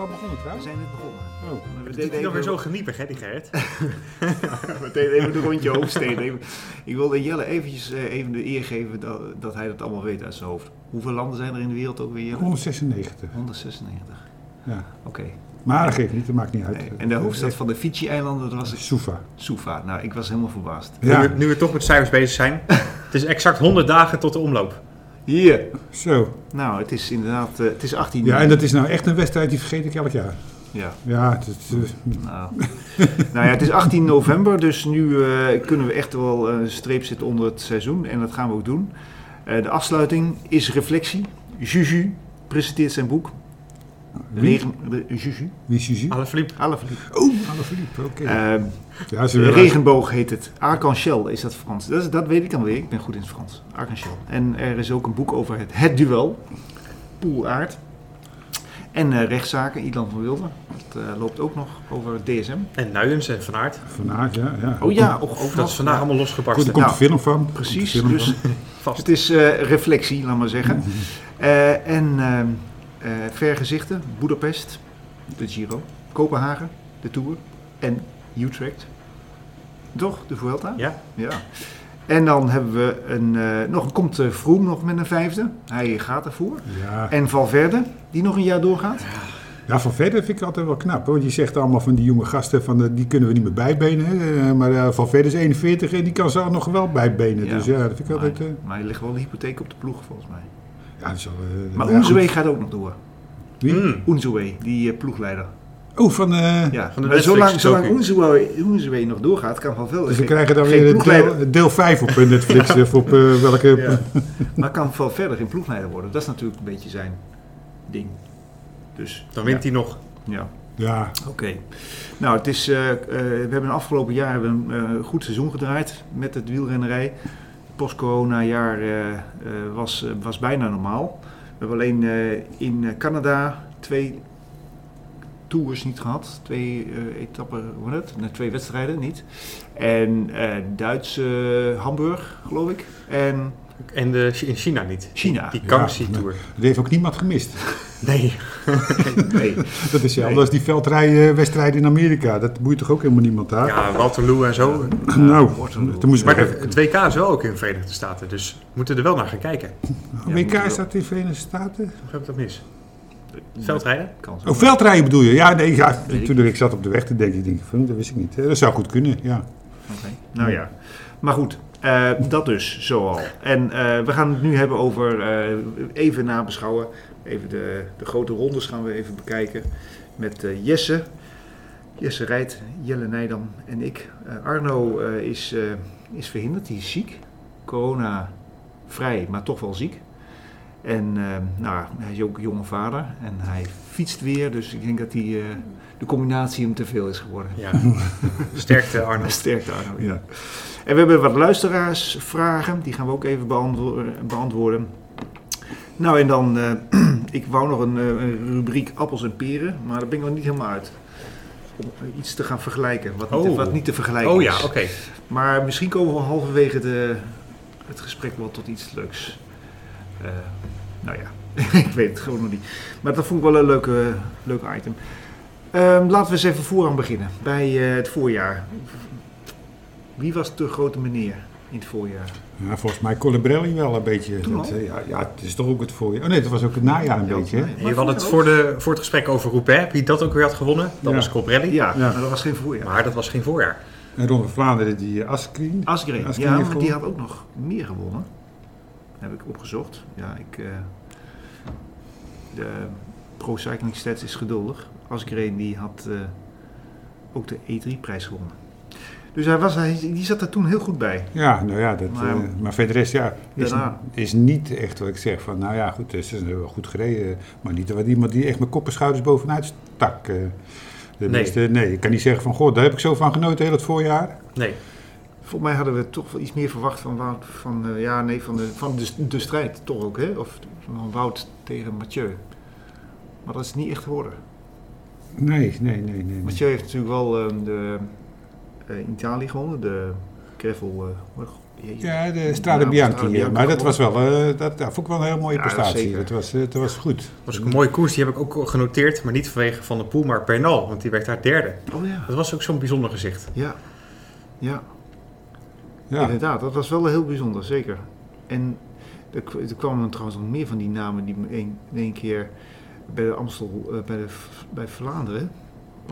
al begonnen We trouwens? zijn net begonnen. Oh. We Het deden is nog even, weer zo geniepig, hè, die Gerrit? We deden even een rondje oversteden. Even- Ik wilde Jelle eventjes eh, even de eer geven dat, dat hij dat allemaal weet uit zijn hoofd. Hoeveel landen zijn er in de wereld ook weer? Jelle? 196. 196. Ja. Oké. Maar dat geeft niet, dat maakt niet uit. Eh, Nee, En de hoofdstad van de Fiji-eilanden dat was Soefa. Suva. Nou, ik was helemaal verbaasd. Ja, Nu, we- nu we toch met cijfers bezig zijn. Het is exact 100 dagen tot de omloop. Hier. zo. Nou, het is inderdaad, eh, het is 18 Ja, uur. en dat is nou echt een wedstrijd, die vergeet ik elk jaar. Ja, Ja, het, is, eh, nou. nou ja, het is 18 november, dus nu eh, kunnen we echt wel een streep zetten onder het seizoen. En dat gaan we ook doen. Eh, de afsluiting is reflectie. Juju presenteert zijn boek. wie, Regen, Ah, de- Juju. wie is Suzy? Alle verliep. Alaphilippe. Anne Philippe, oké. Eh, ja, ze de willen- regenboog heet het. Arcanchel is dat Frans. Dat, is- dat weet ik dan weer. Ik ben goed in het Frans. Arcanchel. En er is ook een boek over het, het duel. Poelaard. En eh, rechtszaken. Ilan van Wilder. Dat eh, loopt ook nog over DSM. En Nuyens en Van Aert. Vandaag, ja. ja. Oh ja, ook, ook Dat is vandaag allemaal Goed, er losgebarsten. komt Nou, een film van. Er Precies, komt een film dus van. Vast. het is eh, reflectie, laat maar zeggen. Eh, en eh, eh, vergezichten, Budapest, de Giro, Kopenhagen, de Tour en Utrecht. Toch, de Vuelta? Ja. ja. En dan hebben we een, eh, nog, komt eh, Froome nog met een vijfde. Hij gaat ervoor. Ja. En Valverde, die nog een jaar doorgaat. ja, van verder vind ik altijd wel knap. Hoor. Want je zegt allemaal van die jonge gasten, van, eh, die kunnen we niet meer bijbenen. Hè. Eh, Maar eh, van verder is 41 en die kan ze nog wel bijbenen. Ja. Dus ja, dat vind ik Maar, altijd... eh, maar hij legt wel de hypotheek op de ploeg, volgens mij. ja, dat is wel, eh, Maar ja, goed. Unzué gaat ook nog door. Wie? Mm. Unzué, die eh, ploegleider. Oh, van... eh, Ja, Van de maar zolang, Netflix-docu. zolang Unzué- Unzué nog doorgaat, kan Van Velden Dus we geen- krijgen dan geen weer een ploegleider- deel, deel 5 op eh, Netflix. Of op eh, welke... Ja. Maar kan Van Verder geen ploegleider worden? Dat is natuurlijk een beetje zijn ding. Dus, Dan wint hij nog. ja, Ja, oké. Nou, het is, eh, eh, we hebben de afgelopen jaar hebben we een eh, goed seizoen gedraaid met het wielrennerij. Post-corona jaar eh, eh, was, eh, was bijna normaal. We hebben alleen eh, in eh, Canada twee tours niet gehad. Twee eh, etappen, hoe heet het? Nee, twee wedstrijden niet. En eh Duitse Hamburg, geloof ik. En En de, in China niet. China. Die Ja. Kangxi-tour. dat heeft ook niemand gemist. Nee. Nee. Dat is hetzelfde Nee. als die veldrijwedstrijden in Amerika. Dat boeit toch ook helemaal niemand daar? Ja, Waterloo en zo. nou, Waterloo. toen moest Maar ik... het WK is wel ook in de Verenigde Staten. Dus we moeten er wel naar gaan kijken. Hoe Nou, Amerika staat in de Verenigde Staten? heb ik dat mis? Veldrijden? Kans. Oh, veldrijden bedoel je? Ja, nee, ja, Weet ik toen ik zat op de weg te denken, ik denk, van, dat wist ik niet. Eh, Dat zou goed kunnen, ja. Oké. Nou ja, maar goed. eh, dat dus, zoal. En eh, we gaan het nu hebben over, eh, even nabeschouwen, even de, de grote rondes gaan we even bekijken met eh, Jesse. Jesse Rijt, Jelle Nijdam en ik. Eh, Arno eh, is, eh, is verhinderd, die is ziek. Corona vrij, maar toch wel ziek. En eh, nou, hij is ook jonge vader en hij fietst weer, dus ik denk dat die, eh, de combinatie hem te veel is geworden. Ja. Sterkte, Arno. Sterkte Arno. Ja. En we hebben wat luisteraarsvragen, die gaan we ook even beantwo- eh, beantwoorden. Nou en dan, eh, ik wou nog een, eh, een rubriek appels en peren, maar daar ben ik nog niet helemaal uit. Om eh, iets te gaan vergelijken, wat niet, te, Oh. wat niet te vergelijken Oh is. ja, oké. Maar misschien komen we halverwege de, het gesprek wel tot iets leuks. Eh, nou ja, ik weet het gewoon nog niet. Maar dat vond ik wel een leuke, leuke item. Ehm, laten we eens even vooraan beginnen, bij eh, het voorjaar. Wie was de grote meneer in het voorjaar? ja volgens mij Colibrelli wel een beetje. Toen Dat, al? eh, ja, ja, het is toch ook het voorjaar. Oh nee, het was ook het najaar een Ja, beetje, hè? nee. En je had het voor, de, voor het gesprek over Roubaix, wie dat ook weer had gewonnen. Dat Ja. was Colbrelli. Ja, Ja. maar dat was geen voorjaar. Maar dat was geen voorjaar. En Ron van Vlaanderen, die Askrien. Asgreen, Asgreen ja, heeft maar die gewonnen. had ook nog meer gewonnen. Heb ik opgezocht. Ja, ik... eh, de Pro Cycling Stats is geduldig. Asgreen die had eh, ook de E3-prijs gewonnen. Dus hij was, hij, die zat er toen heel goed bij. Ja, nou ja, dat, Maar- maar, maar verder is, ja, is, Daarna. is niet echt wat ik zeg van, nou ja, goed, ze zijn wel goed gereden. Maar niet wat iemand die echt met kop en schouders bovenuit stak. eh, de Nee. beste, nee, ik kan niet zeggen van, god, daar heb ik zo van genoten heel het voorjaar. Nee. Volgens mij hadden we toch wel iets meer verwacht van Wout. Van, eh, ja, nee, van, de, van de, de strijd toch ook, hè? Of van Wout tegen Mathieu. Maar dat is niet echt geworden. Nee, nee, nee, nee. nee. ehm, Mathieu heeft natuurlijk wel eh, de, eh, in Italië gewonnen, de gravel... eh, wat- jeetje. Ja, de Nou, Strade Strade Bianchi. Bianchi ja. maar dat gewonnen. was wel, eh, dat, dat vond ik wel een heel mooie Ja, dat prestatie. zeker. Dat was, eh, dat was goed. was ook een mooie koers, die heb ik ook genoteerd, maar niet vanwege Van der Poel, maar Bernal, want die werd daar derde. Oh ja, Dat was ook zo'n bijzonder gezicht. ja. Ja, Ja. inderdaad. Dat was wel heel bijzonder, zeker. En er, k- er kwamen trouwens nog meer van die namen die me een- in één keer bij de Amstel, eh, bij, de, V- bij Vlaanderen...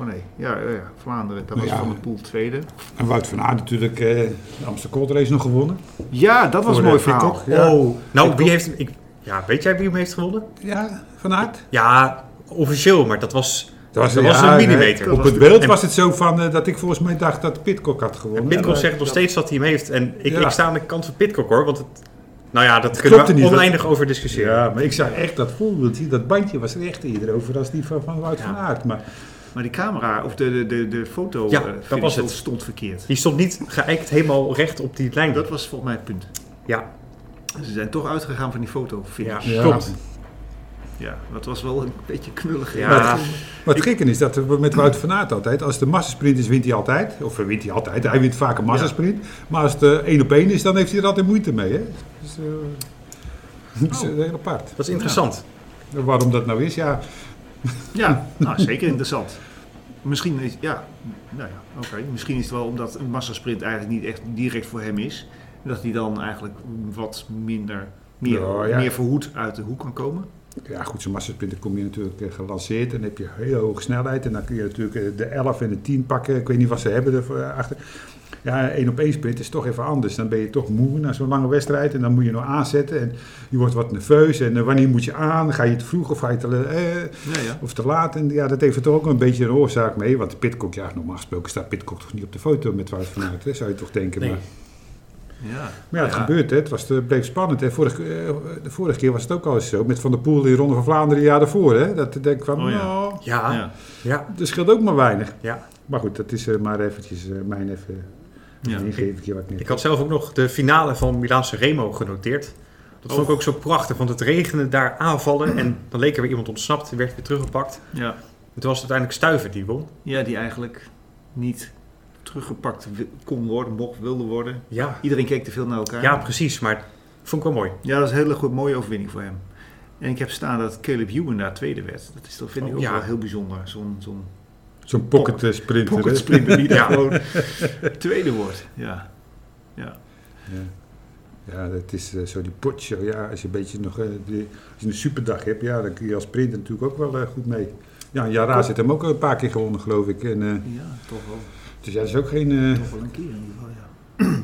Oh nee, ja, ja, ja, Vlaanderen. Dat Nou was ja, Van der Poel tweede. En Wout van Aert natuurlijk eh, de Amsterdam Gold Race nog gewonnen. Ja, dat was Voor een de mooi verhaal. Peacock, ja. Oh, nou, Ik wie ook. heeft, ik, ja, weet jij wie hem heeft gewonnen? Ja, van Aert. Ja, officieel, maar dat was, dat was, ja, een nee. millimeter. Dat Op was het de- beeld en- was het zo van eh, dat ik volgens mij dacht dat Pitcock had gewonnen. En Pitcock Maar, zegt nog steeds dat hij hem heeft. En ik, Ja. ik sta aan de kant van Pitcock hoor. Want het, nou ja, dat kunnen we klopte niet, oneindig over discussiëren. Ja, maar ik zag echt dat voorbeeldje, dat bandje was er echt eerder over als die van, van Wout Ja. van Aert. Maar Maar die camera, of de, de, de, de foto Ja, eh, dat finish was het. stond verkeerd. Die stond niet geëikt helemaal recht op die lijn. Dat was volgens mij het punt. ja, Ze zijn toch uitgegaan van die foto ja, finish. Ja. Ja. klopt. dat was wel een beetje knullig. Ja. Maar het- wat het gekke is dat we met Wout van Aert altijd, als de massasprint is, wint hij altijd. Of eh, wint hij altijd, hij wint vaak een massasprint. Maar als het eh, één op één is, dan heeft hij er altijd moeite mee. Hè? Dus, eh, Oh. dat is eh, heel apart. Dat is interessant. Waarom dat nou is, ja. Ja, nou, zeker interessant. Misschien is, ja, nou ja, oké. Misschien is het wel omdat een massasprint eigenlijk niet echt direct voor hem is. Dat hij dan eigenlijk wat minder, meer, Ja, ja. meer verhoed uit de hoek kan komen. Ja, goed, zo'n massasprinter kom je natuurlijk eh, gelanceerd en dan heb je hele hoge snelheid. En dan kun je natuurlijk eh, de 11 en de 10 pakken. Ik weet niet wat ze hebben ervoor eh, achter. Ja, één op één sprint is toch even anders. Dan ben je toch moe na zo'n lange wedstrijd. En dan moet je nog aanzetten. En je wordt wat nerveus. En eh, wanneer moet je aan? Ga je te vroeg of ga je te, la- eh, Ja, ja. of te laat? En ja, dat heeft er toch ook een beetje een oorzaak mee. Want Pitcock, ja, normaal gesproken staat Pitcock toch niet op de foto met Wout van Aert, hè, zou je toch denken. Nee. Maar, Ja, maar ja, het gebeurt, hè. Het, was, het bleef spannend. Hè. Vorige, eh, de vorige keer was het ook al eens zo. Met Van der Poel in Ronde van Vlaanderen jaar daarvoor. Hè. Dat ik denk van, Oh, ja. nou, Ja, ja. Ja, ja. dat scheelt ook maar weinig. ja. Maar goed, dat is eh, maar eventjes eh, mijn even ja. een ingeving wat ik Ik neem. had zelf ook nog de finale van Milaanse Remo genoteerd. Dat vond ik ook zo prachtig, want het regende daar aanvallen en dan leek er weer iemand ontsnapt, die werd weer teruggepakt. ja. En toen was het uiteindelijk Stuiver die won. Ja, die eigenlijk niet teruggepakt wi- kon worden, mocht, wilde worden. Ja, Iedereen keek te veel naar elkaar. ja precies, maar vond ik wel mooi. Ja, dat is een hele goed, mooie overwinning voor hem. En ik heb staan dat Caleb Ewan daar tweede werd. Dat is, dat vind ik Oh, ook ja. wel heel bijzonder. Zo'n zo'n Zo'n pocket eh, sprinter. hè. pocket sprinter die daar Ja. gewoon tweede wordt. Ja. Ja. Ja. Ja, dat is eh, zo die potje. Ja, als je een beetje nog eh, die- als je een superdag hebt, ja, dan kun je als sprinter natuurlijk ook wel eh, goed mee. Ja, Jara zit hem ook een paar keer gewonnen, geloof ik. En, eh, ja, toch wel, dus ja, dat is ook geen... eh, toch wel een keer in ieder geval,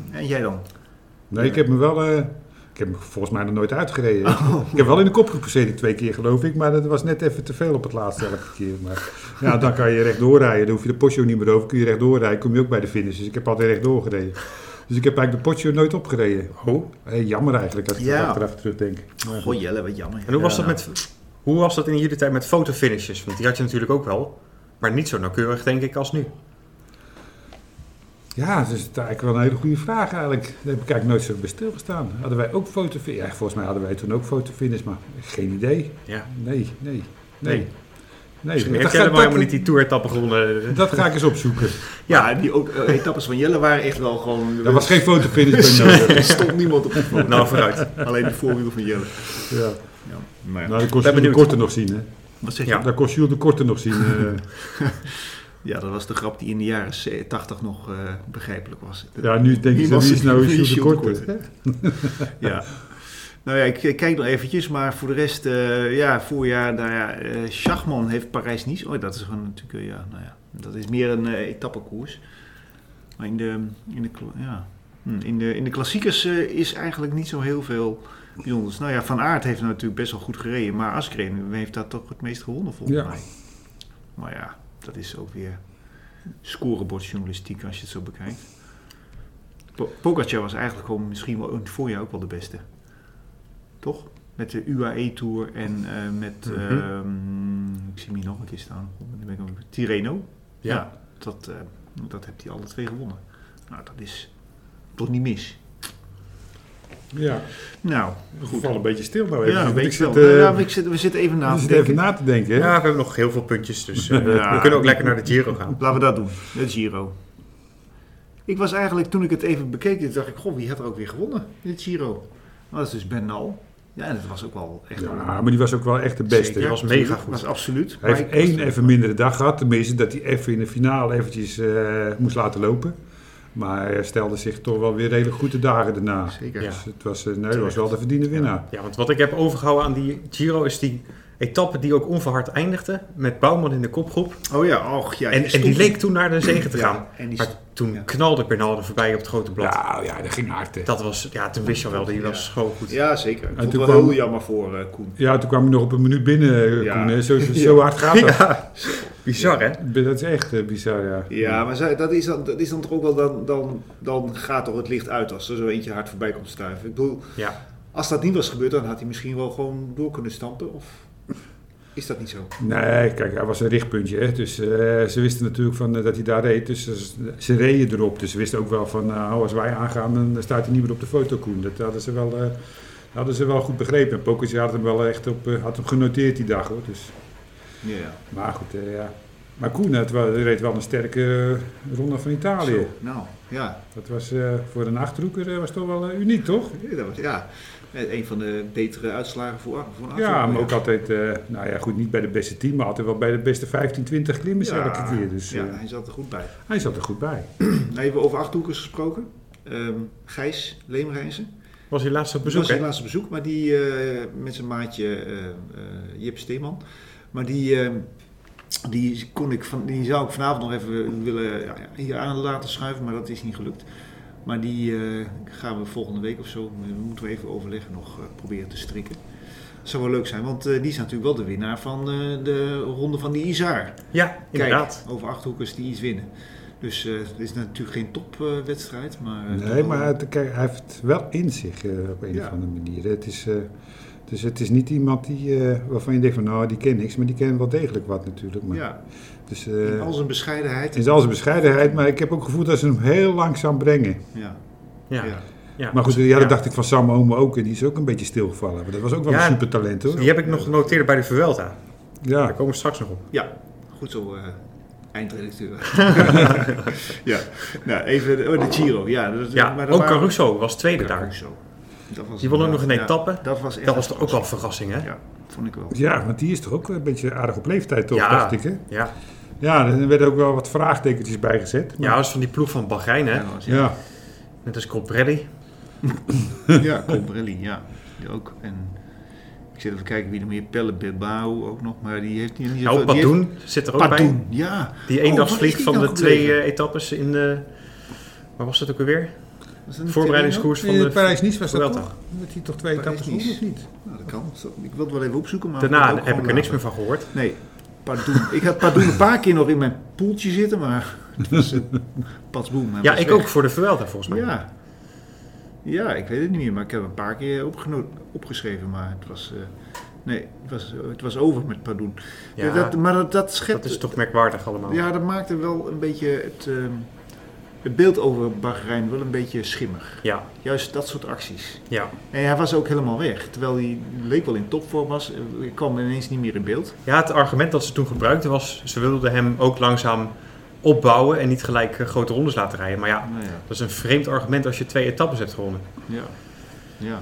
ja. En jij dan? Nee, ik heb me wel. eh, ik heb me volgens mij nog nooit uitgereden. Oh. Ik heb wel in de kopgroep gezeten twee keer, geloof ik. Maar dat was net even te veel op het laatste elke keer. Maar ja, dan kan je rechtdoor rijden. Dan hoef je de Porsche niet meer over. Kun je rechtdoor rijden. Kom je ook bij de finish. Dus ik heb altijd rechtdoor gereden. Dus ik heb eigenlijk de Porsche nooit opgereden. Oh, hey, jammer eigenlijk als ik Ja. er achteraf terugdenk. Maar Goh, goed. Jelle, wat jammer. En hoe, was Ja. dat met, hoe was dat in jullie tijd met fotofinishes? Want die had je natuurlijk ook wel, maar niet zo nauwkeurig denk ik als nu. Ja, dus het is eigenlijk wel een hele goede vraag eigenlijk. Daar heb ik eigenlijk nooit zo bij stilgestaan. Hadden wij ook fotofinish? Ja, volgens mij hadden wij toen ook fotofinish, maar geen idee. Ja. Nee, nee, Nee. nee. Nee, Misschien dat heeft gaat- jij helemaal dat- helemaal niet die tour-etappe gewonnen. eh, Dat ga ik eens opzoeken. Ja, die ook, eh, etappes van Jelle waren echt wel gewoon... Er was geen fotofinish bij nodig. Er stond niemand op de foto. Nou, vooruit. Alleen de voorwiel van Jelle. Ja. Ja. Maar ja. Nou, dat kon Ben Jules de benieuwd. Korte nog zien, hè. Wat zeg Ja. je? Daar kon Jules de Korte nog zien. eh. Ja, dat was de grap die in de jaren ze- 80 nog eh, begrijpelijk was. ja, nu denk je, Niemand wie is ziet- nou wie is Jules de Jules de Korte? Korte? hè? Ja. Nou ja, ik, ik kijk nog eventjes, maar voor de rest, eh, ja, voorjaar, nou ja, eh, Schachman heeft Parijs-Nice. Oh, dat is gewoon natuurlijk, eh, ja, nou ja, dat is meer een eh etappekoers. Maar in de, in de, kla- ja, hm, in de, in de klassiekers eh, is eigenlijk niet zo heel veel bijzonders. Nou ja, Van Aert heeft natuurlijk best wel goed gereden, maar Askreen heeft dat toch het meest gewonnen volgens Ja. mij. Maar ja, dat is ook weer scorebordjournalistiek als je het zo bekijkt. Po- Pogacar was eigenlijk gewoon misschien wel in het voorjaar ook wel de beste. Toch? Met de UAE-tour en eh, met... Mhm. ehm, ik zie hem hier nog een keer staan. Nu ben ik hem- Tirreno. Ja. Ja. dat, eh, dat heeft hij alle twee gewonnen. Nou, dat is toch niet mis. Ja, Nou, we goed. vallen een beetje stil nou even. Ja, want weet ik je wel. zit, eh, Ja, ik zit, we zitten even na ik te zit even denken. na te denken, hè. Ja, we hebben nog heel veel puntjes, dus eh, Ja. we kunnen ook lekker naar de Giro gaan. Laten we dat doen. Het Giro. Ik was eigenlijk, toen ik het even bekeek, dacht ik, goh, wie had er ook weer gewonnen in het Giro? Nou, dat is dus Bernal. Ja, en dat was ook wel echt... Ja, wel- maar die was ook wel echt de beste. Zeker. was absoluut, mega goed. was absoluut. Hij Maar heeft ik- één even mindere dag gehad. Tenminste, dat hij even in de finale eventjes eh, moest laten lopen. Maar hij stelde zich toch wel weer redelijk goed de dagen daarna. Zeker. Ja. Dus het was, eh, nee, dat was wel de verdiende winnaar. Ja, want wat ik heb overgehouden aan die Giro is die etappe die ook onverhard eindigde. Met Bouwman in de kopgroep. Oh ja, och ja. en, en die stond- leek toen naar de zegen te Ja, gaan. en die Maar stond- toen ja. knalde Bernal er voorbij op het grote blad. Nou ja, dat ging hard. hè. Dat was, ja, toen wist je al wel, die Ja. was gewoon goed. Ja, zeker. Ik vond toen het wel kwam- heel jammer voor eh, Koen. Ja, toen kwam hij nog op een minuut binnen, eh, Ja. Koen, hè. Zo, zo, zo hard gaat dat. Bizar, hè? Dat is echt eh, bizar, ja. Ja, maar zij- dat is dan, dat is dan toch ook wel, dan, dan, dan gaat toch het licht uit als er zo eentje hard voorbij komt stuiven. Ik bedoel, Ja. als dat niet was gebeurd, dan had hij misschien wel gewoon door kunnen stampen. Of is dat niet zo? Nee, kijk, hij was een richtpuntje. Hè. Dus eh, ze wisten natuurlijk van, eh, dat hij daar reed. Dus ze, ze reden erop. Dus ze wisten ook wel van, nou, als wij aangaan, dan staat hij niet meer op de foto, Koen. Dat hadden ze wel, eh, hadden ze wel goed begrepen. En Pokertje had hem wel echt op, eh, had hem genoteerd die dag, hoor. Dus, Ja, ja. maar goed, eh, ja. Maar Koen had wel, reed wel een sterke eh, ronde van Italië. Zo, nou, ja. Dat was eh, voor een achterhoeker eh, was toch wel eh, uniek, toch? Ja, Dat was, ja. Eh, Een van de betere uitslagen voor, voor een Ja, afgelopen maar jaar. ook altijd, eh, nou ja, goed, niet bij de beste team, maar altijd wel bij de beste 15, 20 klimmers Ja, elke keer. Dus ja, eh, hij zat er goed bij. hij zat er goed bij. Nou, even over Achthoekers gesproken. Ehm, Gijs Leemreizen. Was hij laatst Dat op bezoek, was zijn hè? laatste bezoek, maar die eh, met zijn maatje eh, eh, Jip Steeman. Maar die, eh, die, kon ik van, die zou ik vanavond nog even willen ja, hier aan laten schuiven, maar dat is niet gelukt. Maar die eh, gaan we volgende week of zo, eh, moeten we even overleggen, nog eh, proberen te strikken. Dat zou wel leuk zijn, want eh, die is natuurlijk wel de winnaar van eh, de ronde van die Izar. Ja, Kijk, inderdaad. over achthoekers die iets winnen. Dus eh, het is natuurlijk geen topwedstrijd, maar... eh, toch Nee, wel- maar het- kijk, hij heeft het wel in zich eh, op een Ja. of andere manier. Het is, eh, dus het is niet iemand die, eh, waarvan je denkt van nou, die kent niks, maar die kent wel degelijk wat natuurlijk. Maar, Ja, Dus in eh al zijn bescheidenheid. in al zijn bescheidenheid, maar ik heb ook gevoeld dat ze hem heel langzaam brengen. Ja, Ja. ja. ja. Maar goed, ja, dat Ja. dacht ik van Sam Ome ook en die is ook een beetje stilgevallen. Maar dat was ook wel Ja. een supertalent hoor. Die heb ik nog genoteerd bij de Vuelta. Ja. Daar komen we straks nog op. Ja, goed zo, eh, eindredacteur. ja, nou even oh, de Giro. Ja, dat, Ja, maar dat ook waren- Caruso was tweede daar. Caruso. Dat was Die won ook nog inderdaad- een ja, etappe. dat was echt Dat was toch ook wel een verrassing, hè? Ja, vond ik wel. Ja, want die is toch ook een beetje aardig op leeftijd toch, Ja. dacht ik hè? Ja, Ja, er werden ook wel wat vraagtekentjes bijgezet. ja dat was van die ploeg van Bahrein, hè? Ja, was- ja. Net als Colbrelli. Ja, Comprelli, ja. Die ook. En ik zit even te kijken wie er meer Pelle Bilbao ook nog, maar die heeft niet. Nou, Padoen zit er ook bij. Padoen, ja. Die Oh, waar is eendagsvlieg die van nou de gebleven? twee eh, etappes in de... Waar was dat ook alweer? Was dat een Voorbereidingskoers van de... Parijs-Nice was dat dat Vuelta. toch? toch? Dat hij toch twee etappes etappes won, of of niet? Tirreno? Nou, dat kan. Zo, Ik wil het wel even opzoeken, maar... Daarna Ah, dat heb ik gewoon er niks meer later. van gehoord. Nee, Padoen. Ik had Padoen een paar keer nog in mijn poeltje zitten, maar... het was, eh, Patsboem. hij Ja, was ik weg. ook voor de Vuelta volgens mij. Ja. ja, ik weet het niet meer, maar ik heb hem een paar keer opgeno- opgeschreven, maar het was... eh, nee, het was, het was over met Padoen. Ja, dat, maar dat, dat schept... Dat is toch merkwaardig allemaal. Ja, dat maakte wel een beetje het, ehm, het beeld over Bahrein wel een beetje schimmig. Ja, Juist dat soort acties. ja. En hij was ook helemaal weg, terwijl hij leek wel in topvorm was. Ik kwam ineens niet meer in beeld. ja, het argument dat ze toen gebruikten was... ze wilden hem ook langzaam opbouwen en niet gelijk eh, grote rondes laten rijden. Maar ja, Nou ja, dat is een vreemd argument als je twee etappes hebt gewonnen. ja. Ja,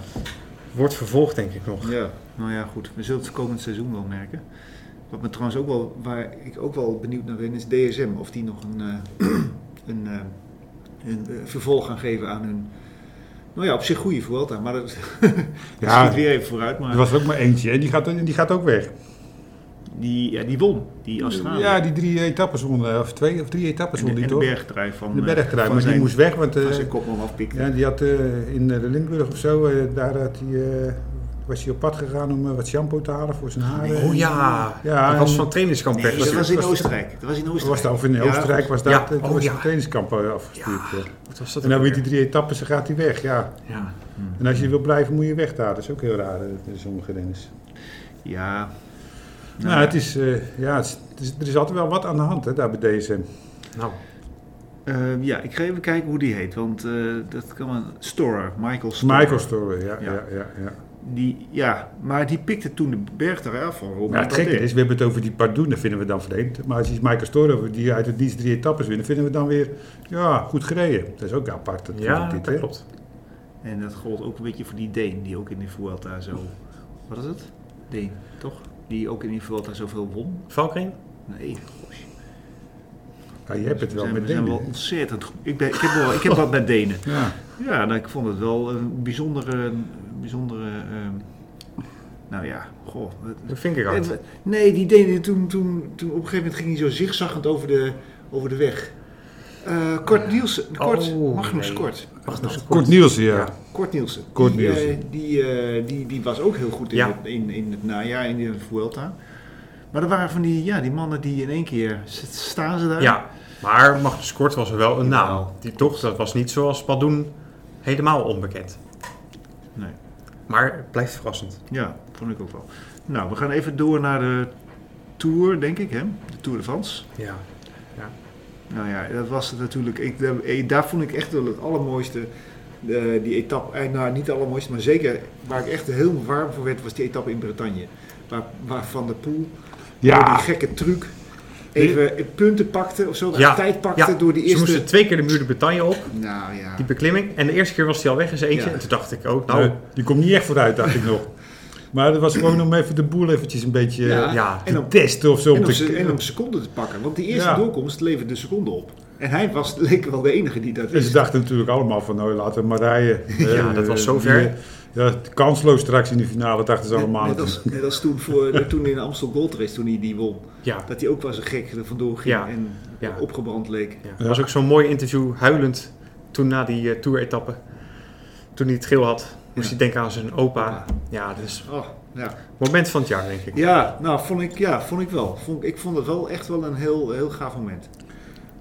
Wordt vervolgd denk ik nog. ja. Nou ja, goed. We zullen het komend seizoen wel merken. Wat me trouwens ook wel, waar ik ook wel benieuwd naar ben, is DSM. Of die nog een, eh, een, eh, een eh, vervolg gaan geven aan hun. Nou ja, op zich goede Vuelta, maar dat dat Ja. schiet weer even vooruit. Maar Er was er ook maar eentje en die gaat, en die gaat ook weg. die, ja, die won, die Australië. Ja, die drie etappes wonnen, of twee of drie etappes en de, won en die de toch? bergtrui van de eh, bergtrui, van maar die zijn- moest weg, want eh, van zijn kop nog afpikken. ja, die had eh, in eh, Limburg of zo, eh, daar had hij, eh, was hij op pad gegaan om eh, wat shampoo te halen voor zijn haren. Oh ja, Ja, dat was en- van trainingskamp Nee, weg dat was natuurlijk. in Oostenrijk. Dat was in Dat was Oostenrijk. dan, of in Ja, Oostenrijk was dat, Ja, eh, toen oh was ja. de trainingskamp eh, afgestuurd. eh. Wat was Nou, En dat dan weer ook die alweer? drie etappes, dan gaat hij weg, ja. Ja. En als je wil blijven, moet je weg daar. Dat is ook heel raar, eh, in sommige renners. Ja. Nou, het is, eh, ja, het is- het is- er is altijd wel wat aan de hand, hè, daar bij deze. Nou, Ehm, ja, ik ga even kijken hoe die heet, want eh, dat kan een Storer, Michael Storer. Michael Storer, ja, Ja. ja, ja, ja. Die, ja, maar die pikte toen de berg eraf van Robin. Maar het gekke Nou, is, we hebben het over die Pardoen, dat vinden we dan vreemd. Maar als je Michael Storo, die uit de dienst drie etappes wint, dan vinden we dan weer, ja, goed gereden. Dat is ook apart. Dat Ja, dit, dat hè? klopt. En dat gold ook een beetje voor die Deen, die ook in de Vuelta zo... Wat is het? Deen, toch? Die ook in de Vuelta zoveel won. Valkering? Nee, Ja, je hebt het we wel zijn, met we zijn Denen. wel ontzettend goed. Ik, ben, ik, heb wel, ik heb wat met Denen. Ja. Ja, nou, ik vond het wel een bijzondere... een bijzondere ehm, nou ja, goh. het- De vingerhard. Eh, Nee, die Denen, toen, toen, toen op een gegeven moment ging hij zo zigzaggend over de, over de weg. Eh Kort Nielsen, Kort, Oh, Magnus nee. Kort. Kort Nielsen, ja. Kort Nielsen. Kort die, eh, Nielsen. die, eh, die, die was ook heel goed in, Ja. het, in, in het najaar, in de Vuelta. Maar er waren van die, ja, die mannen die in één keer, s- staan ze daar? Ja, maar Magnus Kort was er wel een naam. Jawel. Die, toch, dat was niet zoals Padoen helemaal onbekend. Nee. Maar het blijft verrassend. Ja, vond ik ook wel. Nou, we gaan even door naar de Tour, denk ik, hè? De Tour de France. Ja. Nou ja, dat was het natuurlijk. Ik, eh, daar vond ik echt wel het allermooiste. eh, die etappe, eh, nou niet de allermooiste, maar zeker waar ik echt heel warm voor werd, was die etappe in Bretagne. Waar, waar Van der Poel door Oh, die Ja, gekke truc even punten pakte of zo, Ja, tijd pakte ja. door die Ze moesten eerste... twee keer de muur de Bretagne op, Nou ja, die beklimming. En de eerste keer was hij al weg in zijn eentje. Ja. En toen dacht ik ook, nou, nou, die komt niet echt vooruit, dacht ik nog. Maar dat was gewoon om even de boel eventjes een beetje Ja. eh, ja. En te om- testen of zo. en om, te- se- en om seconden te pakken, want die eerste Ja. doorkomst leverde de seconde op. En hij was, leek wel de enige die dat En ze wist. dachten natuurlijk allemaal van, nou, laten we maar rijden. Ja, Eh, dat was zo die, ver. eh, Ja, kansloos straks in de finale, dachten ze allemaal. Net als, net als toen, voor, toen in de Amstel Gold Race, toen hij die won. ja. Dat hij ook wel zo gek er vandoor ging Ja. en Ja. opgebrand leek. Ja. Er was ook zo'n mooi interview, huilend, toen na die eh, tour-etappe. Toen hij het geel had, moest Ja. hij denken aan zijn opa. Ja, dat is Oh, ja. het moment van het jaar, denk ik. ja, nou vond ik, ja, vond ik wel. Vond, ik- ik vond het wel echt wel een heel, heel gaaf moment.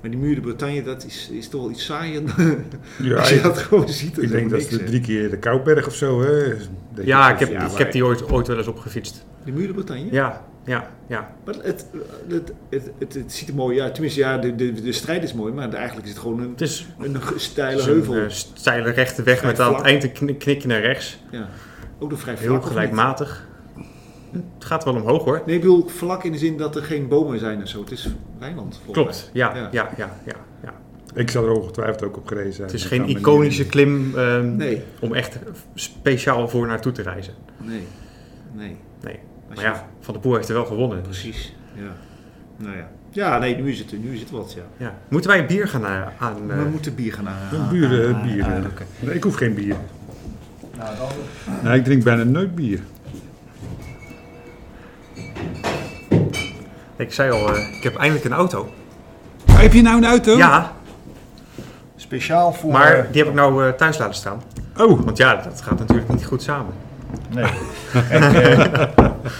Maar die muur de Bretagne, dat is, is toch wel iets saaier dan Ja, als je ik, dat gewoon ziet. ik denk dat niks, ze hè. drie keer de Kouberg of zo. Hè. Dat Ja, je- ik heb, Ja, ik maar- heb die ooit, ooit wel eens opgefietst. De muur de Bretagne? Ja, ja, ja. Maar het, het, het, het, het ziet er mooi uit. Tenminste, ja, de, de, de strijd is mooi, maar eigenlijk is het gewoon een, Het is een ge- het steile is een heuvel. eh, steile rechte weg Vrij met aan het vlak. eind een knik- knikje naar rechts. Ja. Ook nog vrij vlak. Heel of niet? gelijkmatig. Het gaat wel omhoog hoor. Nee, ik bedoel vlak in de zin dat er geen bomen zijn en zo. Het is weiland. volgens Klopt, ja, Ja. ja, ja, ja. ja. Ik zal er ongetwijfeld ook op gerezen zijn. Het is Ik geen kan me niet iconische klim ehm, mij. Nee, om echt speciaal voor naartoe te reizen. nee, nee. Nee. Als Maar je- ja, Van der Poel heeft er wel gewonnen. dus Precies, ja. Nou ja. Ja, nee, nu is het, nu is het wat, ja. Ja. Moeten wij een bier gaan eh, aan? eh, We moeten bier gaan aan. Een buren, Ah, aan- bier. aan- eh. oké. Nee, ik hoef geen bier. Nou, Nee, ik drink bijna nooit bier. Ik zei al, eh, ik heb eindelijk een auto. heb je nou een auto? Ja, Speciaal voor... maar die heb ik nou eh, thuis laten staan. Oh, Want ja, dat gaat natuurlijk niet goed samen. Nee.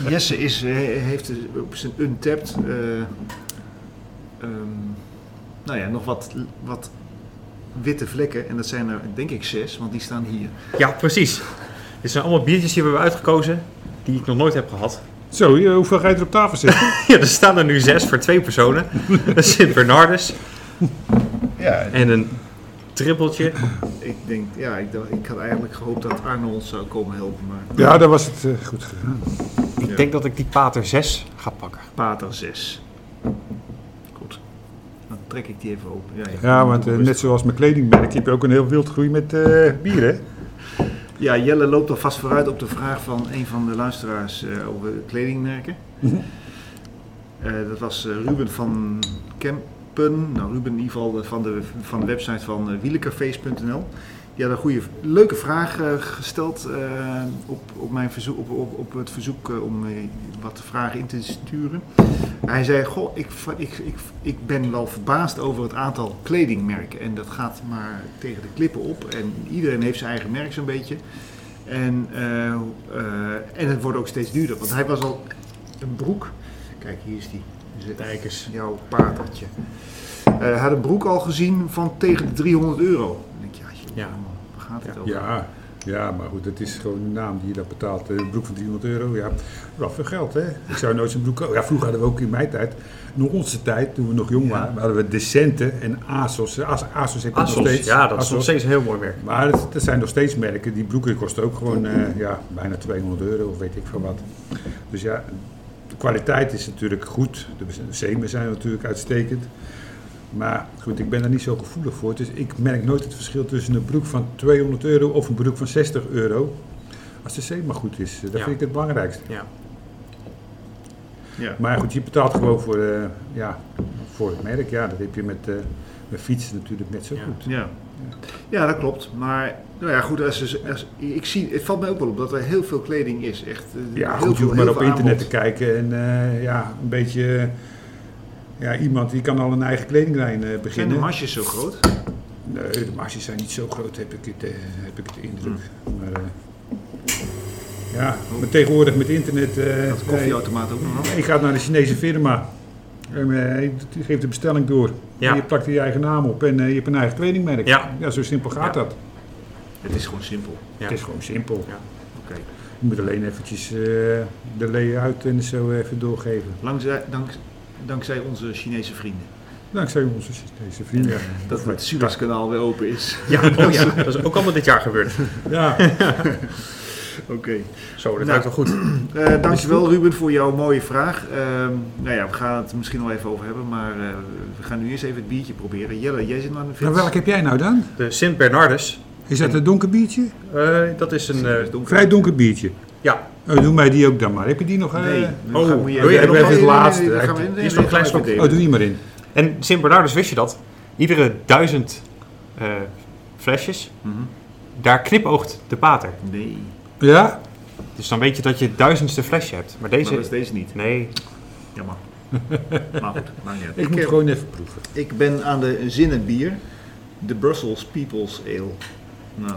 Jesse is, eh, heeft dus op zijn untapped, eh, ehm, nou ja, nog wat, wat witte vlekken. En dat zijn er, denk ik, zes, want die staan hier. Ja, precies. Dit zijn allemaal biertjes die we hebben uitgekozen, die ik nog nooit heb gehad. zo, hier, hoeveel ga je er op tafel zitten? Ja, er staan er nu zes voor twee personen. Een Sint Bernardus Ja, en een trippeltje. Ik denk, ja, ik, dacht- ik had eigenlijk gehoopt dat Arno ons zou komen helpen, maar Ja, dat was het eh, goed gedaan. Ik Ja. denk dat ik die pater 6 ga pakken. Pater 6. Goed. Dan trek ik die even open. Ja, Ja, want eh, net zoals mijn kledingmerk heb je ook een heel wild groei met eh, bier, hè? Ja, Jelle loopt alvast vooruit op de vraag van een van de luisteraars eh, over kledingmerken. Eh, dat was eh, Ruben van Kempen. Nou, Ruben in ieder geval eh, van de, van de website van eh, wielencafés.nl. Die had een goede, leuke vraag eh, gesteld eh, op, op, mijn verzoek, op, op, op het verzoek eh, om eh, wat vragen in te sturen. Hij zei, goh, ik, v- ik, ik, ik ben wel verbaasd over het aantal kledingmerken. En dat gaat maar tegen de klippen op. En iedereen heeft zijn eigen merk zo'n beetje. En, eh, eh, en het wordt ook steeds duurder. Want hij was al een broek. Kijk, hier is die. Hier zit Dijkers. jouw patertje. Eh, Hij had een broek al gezien van tegen de 300 euro. Dan denk ik, ja, joh, Ja. waar gaat het Ja. over? Ja, Ja, maar goed, het is gewoon een naam die je dat betaalt. Eh, Een broek van 300 euro, ja, wel veel geld, hè? Ik zou nooit zo'n broek kopen. Ja, vroeger hadden we ook in mijn tijd, nog onze tijd, toen we nog jong waren, hadden we Decente en ASOS. ASOS, ASOS heb ik nog Asos, steeds. ja, dat is nog ASOS. steeds een heel mooi merk. Maar het, er zijn nog steeds merken, die broeken kosten ook gewoon eh, ja, bijna 200 euro of weet ik veel wat. Dus ja, de kwaliteit is natuurlijk goed. De zemen zijn natuurlijk uitstekend. Maar goed, ik ben daar niet zo gevoelig voor. Dus ik merk nooit het verschil tussen een broek van 200 euro of een broek van 60 euro. Als de zeem maar goed is, eh, dat Ja. vind ik het belangrijkste. Ja. Ja. Maar goed, je betaalt gewoon voor, eh, ja, voor het merk. Ja, dat heb je met, eh met fietsen natuurlijk net zo Ja. goed. Ja. ja, dat klopt. Maar nou ja, goed, als, als, als- ik zie, het valt mij ook wel op dat er heel veel kleding is. Echt, eh, Ja, heel goed, je veel- hoeft maar heel op veel internet te aanbod. kijken en eh, ja, een beetje... eh, ja, iemand die kan al een eigen kledinglijn eh, Zijn de beginnen. masjes zo groot? nee, de marges zijn niet zo groot, heb ik, het, eh, heb ik de indruk. Hmm. Maar, eh, ja, maar tegenwoordig met internet... eh, Dat koffieautomaat ook nog. nee, je gaat naar de Chinese firma. En, eh, je geeft de bestelling door. Ja. En je plakt er je eigen naam op en eh, je hebt een eigen kledingmerk. Ja. zo simpel gaat Ja. dat. Het is gewoon simpel. Ja. Het is gewoon simpel. Oké. Je moet alleen eventjes eh, de layout en zo even doorgeven. Langzij- dank- dankzij onze Chinese vrienden. Dankzij onze Chinese vrienden. Dat het Suezkanaal weer open is. Ja, oh ja, dat is ook allemaal dit jaar gebeurd. Ja, Oké. Zo, dat Nou. lijkt wel goed. Eh, dankjewel Ruben voor jouw mooie vraag. Ehm, nou ja, we gaan het misschien al even over hebben, maar eh, we gaan nu eerst even het biertje proberen. Jelle, jij zit aan de maar fiets. welk heb jij nou dan? De Sint Bernardus, Is dat een donker biertje? eh, dat is een... eh, donker. Vrij donker biertje. ja, Oh, doe mij die ook dan maar. Heb je die nog? eh? Nee, oh, dan moet je wil je- dan ik ben gaan we- het laatste. dan gaan we- Die nee, is nee, nog klein gaan we slokje. even Oh, doe die maar in. en Sint Bernardus, wist je dat? Iedere duizend eh, flesjes, delen. Mhm. daar knipoogt de pater. Nee, Ja? Dus dan weet je dat je het duizendste flesje hebt. Maar maar deze... dat is deze niet. Nee, Jammer. maar goed, maakt niet uit. Ik, moet eh, gewoon even proeven. ik ben aan de zinnenbier. De Brussels People's Ale. Nou,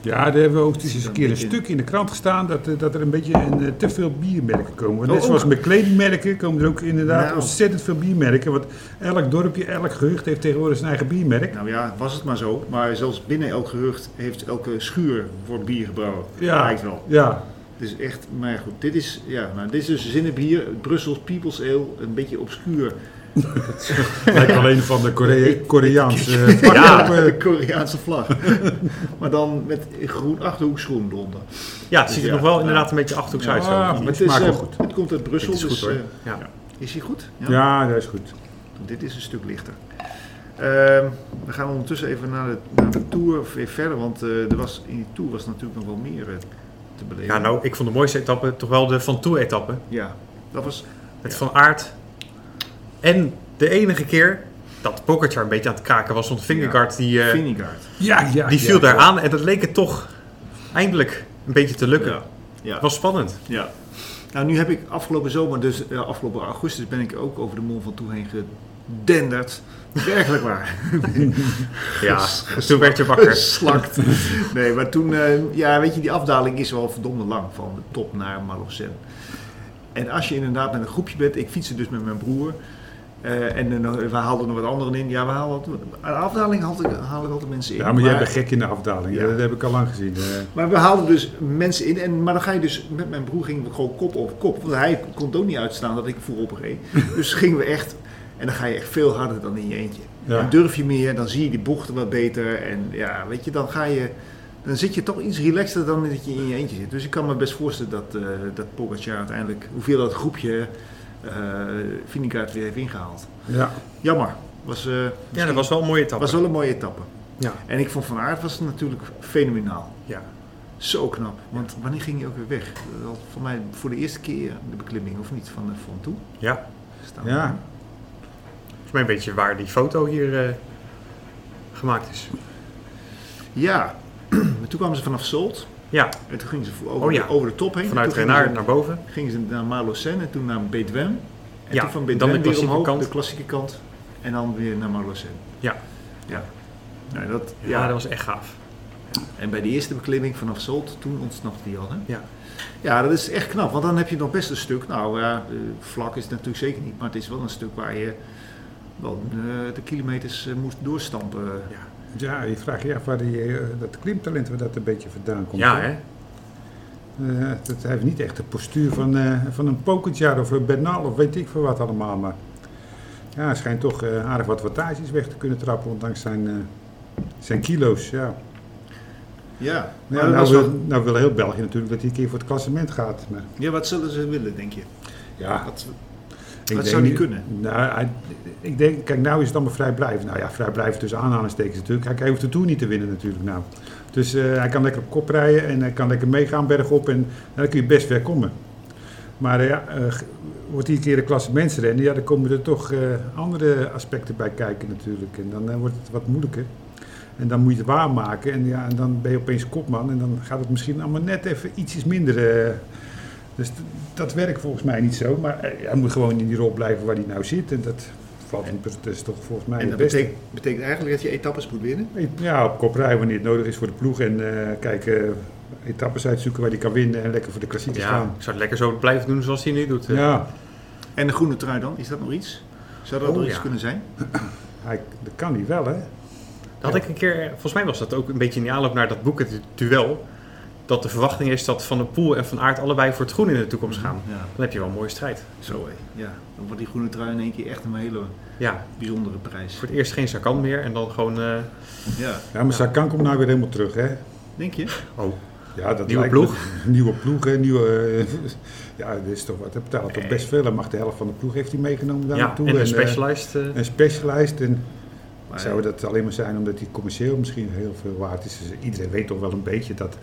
Ja, daar hebben we ook eens Zit een er keer een een beetje stuk in de krant gestaan dat, eh, dat er een beetje een, eh, te veel biermerken komen. Net Oh, ook. zoals met kledingmerken komen er ook inderdaad Nou. ontzettend veel biermerken. Want elk dorpje, elk gehucht heeft tegenwoordig zijn eigen biermerk. nou ja, was het maar zo. Maar zelfs binnen elk gerucht heeft elke schuur wordt bier gebrouwen. Ja. Lijkt wel. Ja, Het is echt, maar goed, dit is, ja, nou, dit is dus zinnenbier, Brussels People's Ale, een beetje obscuur. lijkt alleen van de Korea- Koreaanse eh, vak Ja, op, de eh. Koreaanse vlag. maar dan met groen, achterhoeksgroen eronder. Dus ja, het ziet er Ja. nog wel inderdaad een beetje achterhoeks uit. Zo. Ja, Maar het het, is, smaakt wel eh, goed. het komt uit Brussel, Het is goed, dus hoor. eh, Ja. is hij goed? Ja, dat is goed. Dit is een stuk lichter. Ehm, we gaan ondertussen even naar de, naar de tour of weer verder, want eh, er was, in die tour was natuurlijk nog wel meer eh, te beleven. Ja, nou, ik vond de mooiste etappe toch wel de Van Toe-etappe. Ja, dat was, Het Ja. Van Aert. En de enige keer dat Pogacar een beetje aan het kaken was, want Vingegaard die, eh, Vinegaard. Ja, ja, die ja, viel daar ja. aan en dat leek het toch eindelijk een beetje te lukken. Ja. Ja. Het was spannend. Ja. Nou, nu heb ik afgelopen zomer, dus eh, afgelopen augustus, ben ik ook over de mond van toe heen gedenderd. Werkelijk waar. Ja, Ges- toen werd je wakker. Geslakt. Nee, maar toen, eh, ja, weet je, die afdaling is wel verdomde lang van de top naar Malocen. En als je inderdaad met een groepje bent, ik fietste dus met mijn broer. eh, en eh, we haalden er wat anderen in. Ja, we haalden, altijd- aan de afdaling haal ik, haal ik altijd mensen in. Ja, maar jij bent gek in de afdaling. Ja, Ja. dat heb ik al lang gezien. eh. Maar we haalden dus mensen in. En, maar dan ga je dus met mijn broer gingen we gewoon kop op kop. Want hij kon het ook niet uitstaan dat ik voorop reed. dus gingen we echt. En dan ga je echt veel harder dan in je eentje. Ja. Dan durf je meer, dan zie je die bochten wat beter. En ja, weet je, dan ga je. Dan zit je toch iets relaxter dan dat je in je eentje zit. Dus ik kan me best voorstellen dat, eh dat Pogacar uiteindelijk, hoeveel dat groepje eh Vingegaard weer heeft ingehaald. ja. Jammer. Was, eh, Ja, dat was wel een mooie etappe. was wel een mooie etappe. Ja. En ik vond Van Aert was natuurlijk fenomenaal. Ja. Zo knap. Want wanneer ging je ook weer weg? Dat voor mij voor de eerste keer de beklimming, of niet, van, eh, van toe ja, staan. ja. volgens mij een beetje waar die foto hier eh, gemaakt is. Ja. Maar toen kwamen ze vanaf Zolt. Ja, En toen gingen ze over, Oh ja. over de top heen. vanuit Toen gingen Renard ze- naar boven. gingen ze naar Malocen en toen naar Bedwem. En Ja, toen van dan Bedwem de weer klassieke omhoog, kant. de klassieke kant. En dan weer naar Malocen. Ja. Ja. Nou, dat, Ja, ja. dat was echt gaaf. En bij de eerste beklimming vanaf Zolt, toen ontsnapte hij al. Hè? Ja. ja, dat is echt knap. Want dan heb je nog best een stuk. Nou ja, eh, vlak is het natuurlijk zeker niet. Maar het is wel een stuk waar je wel eh, de kilometers eh, moest doorstampen. Ja. Ja, je vraagt je af waar die, eh, dat klimtalent waar dat een beetje vandaan komt. Ja, hè? hè? Eh, dat, hij heeft niet echt de postuur van, eh, van een Pogacar of een Bernal of weet ik veel wat allemaal. Maar ja, hij schijnt toch eh, aardig wat wattages weg te kunnen trappen, ondanks zijn, eh, zijn kilo's. Ja. Ja, maar Ja, dat nou, was wil, wel- nou wil heel België natuurlijk dat hij een keer voor het klassement gaat. Maar ja, wat zullen ze willen, denk je? ja, nou, Wat, Ik Dat denk zou niet niet- kunnen. Nou, hij- ik denk, kijk, nou is het allemaal vrijblijvend. Nou ja, vrijblijvend tussen aanhalingstekens natuurlijk. Hij, hij hoeft de Tour niet te winnen natuurlijk nou. Dus eh, hij kan lekker op kop rijden en hij kan lekker meegaan bergop. En nou, dan kun je best weer komen. Maar eh, ja, eh, g- wordt hij een keer een klasse mensenrennen, ja, dan komen er toch eh, andere aspecten bij kijken natuurlijk. En dan eh, wordt het wat moeilijker. En dan moet je het waarmaken. En, ja, en dan ben je opeens kopman. En dan gaat het misschien allemaal net even ietsjes minder. eh, dus d- dat werkt volgens mij niet zo. Maar eh, hij moet gewoon in die rol blijven waar hij nou zit. En dat valt hem, dat is toch volgens mij en het dat beste. betekent, betekent eigenlijk dat je etappes moet winnen. Ja, op kop rijden wanneer het nodig is voor de ploeg. En eh, kijk, eh, etappes uitzoeken waar hij kan winnen. En lekker voor de klassiekers Ja, gaan. ik zou het lekker zo blijven doen zoals hij nu doet. eh. Ja, En de groene trui dan, is dat nog iets? Zou dat Oh, nog iets ja. kunnen zijn? hij, dat kan hij wel hè. Dat had ik een keer, volgens mij was dat ook een beetje in de aanloop naar dat boek, het duel. Dat de verwachting is dat Van der Poel en Van Aert allebei voor het groen in de toekomst gaan. Ja, Dan heb je wel een mooie strijd. zo hé. Ja, dan wordt die groene trui in één keer echt een hele Ja, bijzondere prijs. voor het eerst geen Sakan meer en dan gewoon... eh, Ja, Ja, maar Sakan komt nou weer helemaal terug hè. denk je? oh, Ja, dat Nieuwe lijkt ploeg? me- nieuwe ploeg, hè, nieuwe... eh, ja, dat is toch wat. Hij betaalt toch best veel. Hij mag de helft van de ploeg heeft hij meegenomen daar ja, naartoe. en eh, een specialist. eh, een specialist. En Maar, zou dat alleen maar zijn omdat hij commercieel misschien heel veel waard is. Dus iedereen weet toch wel een beetje dat,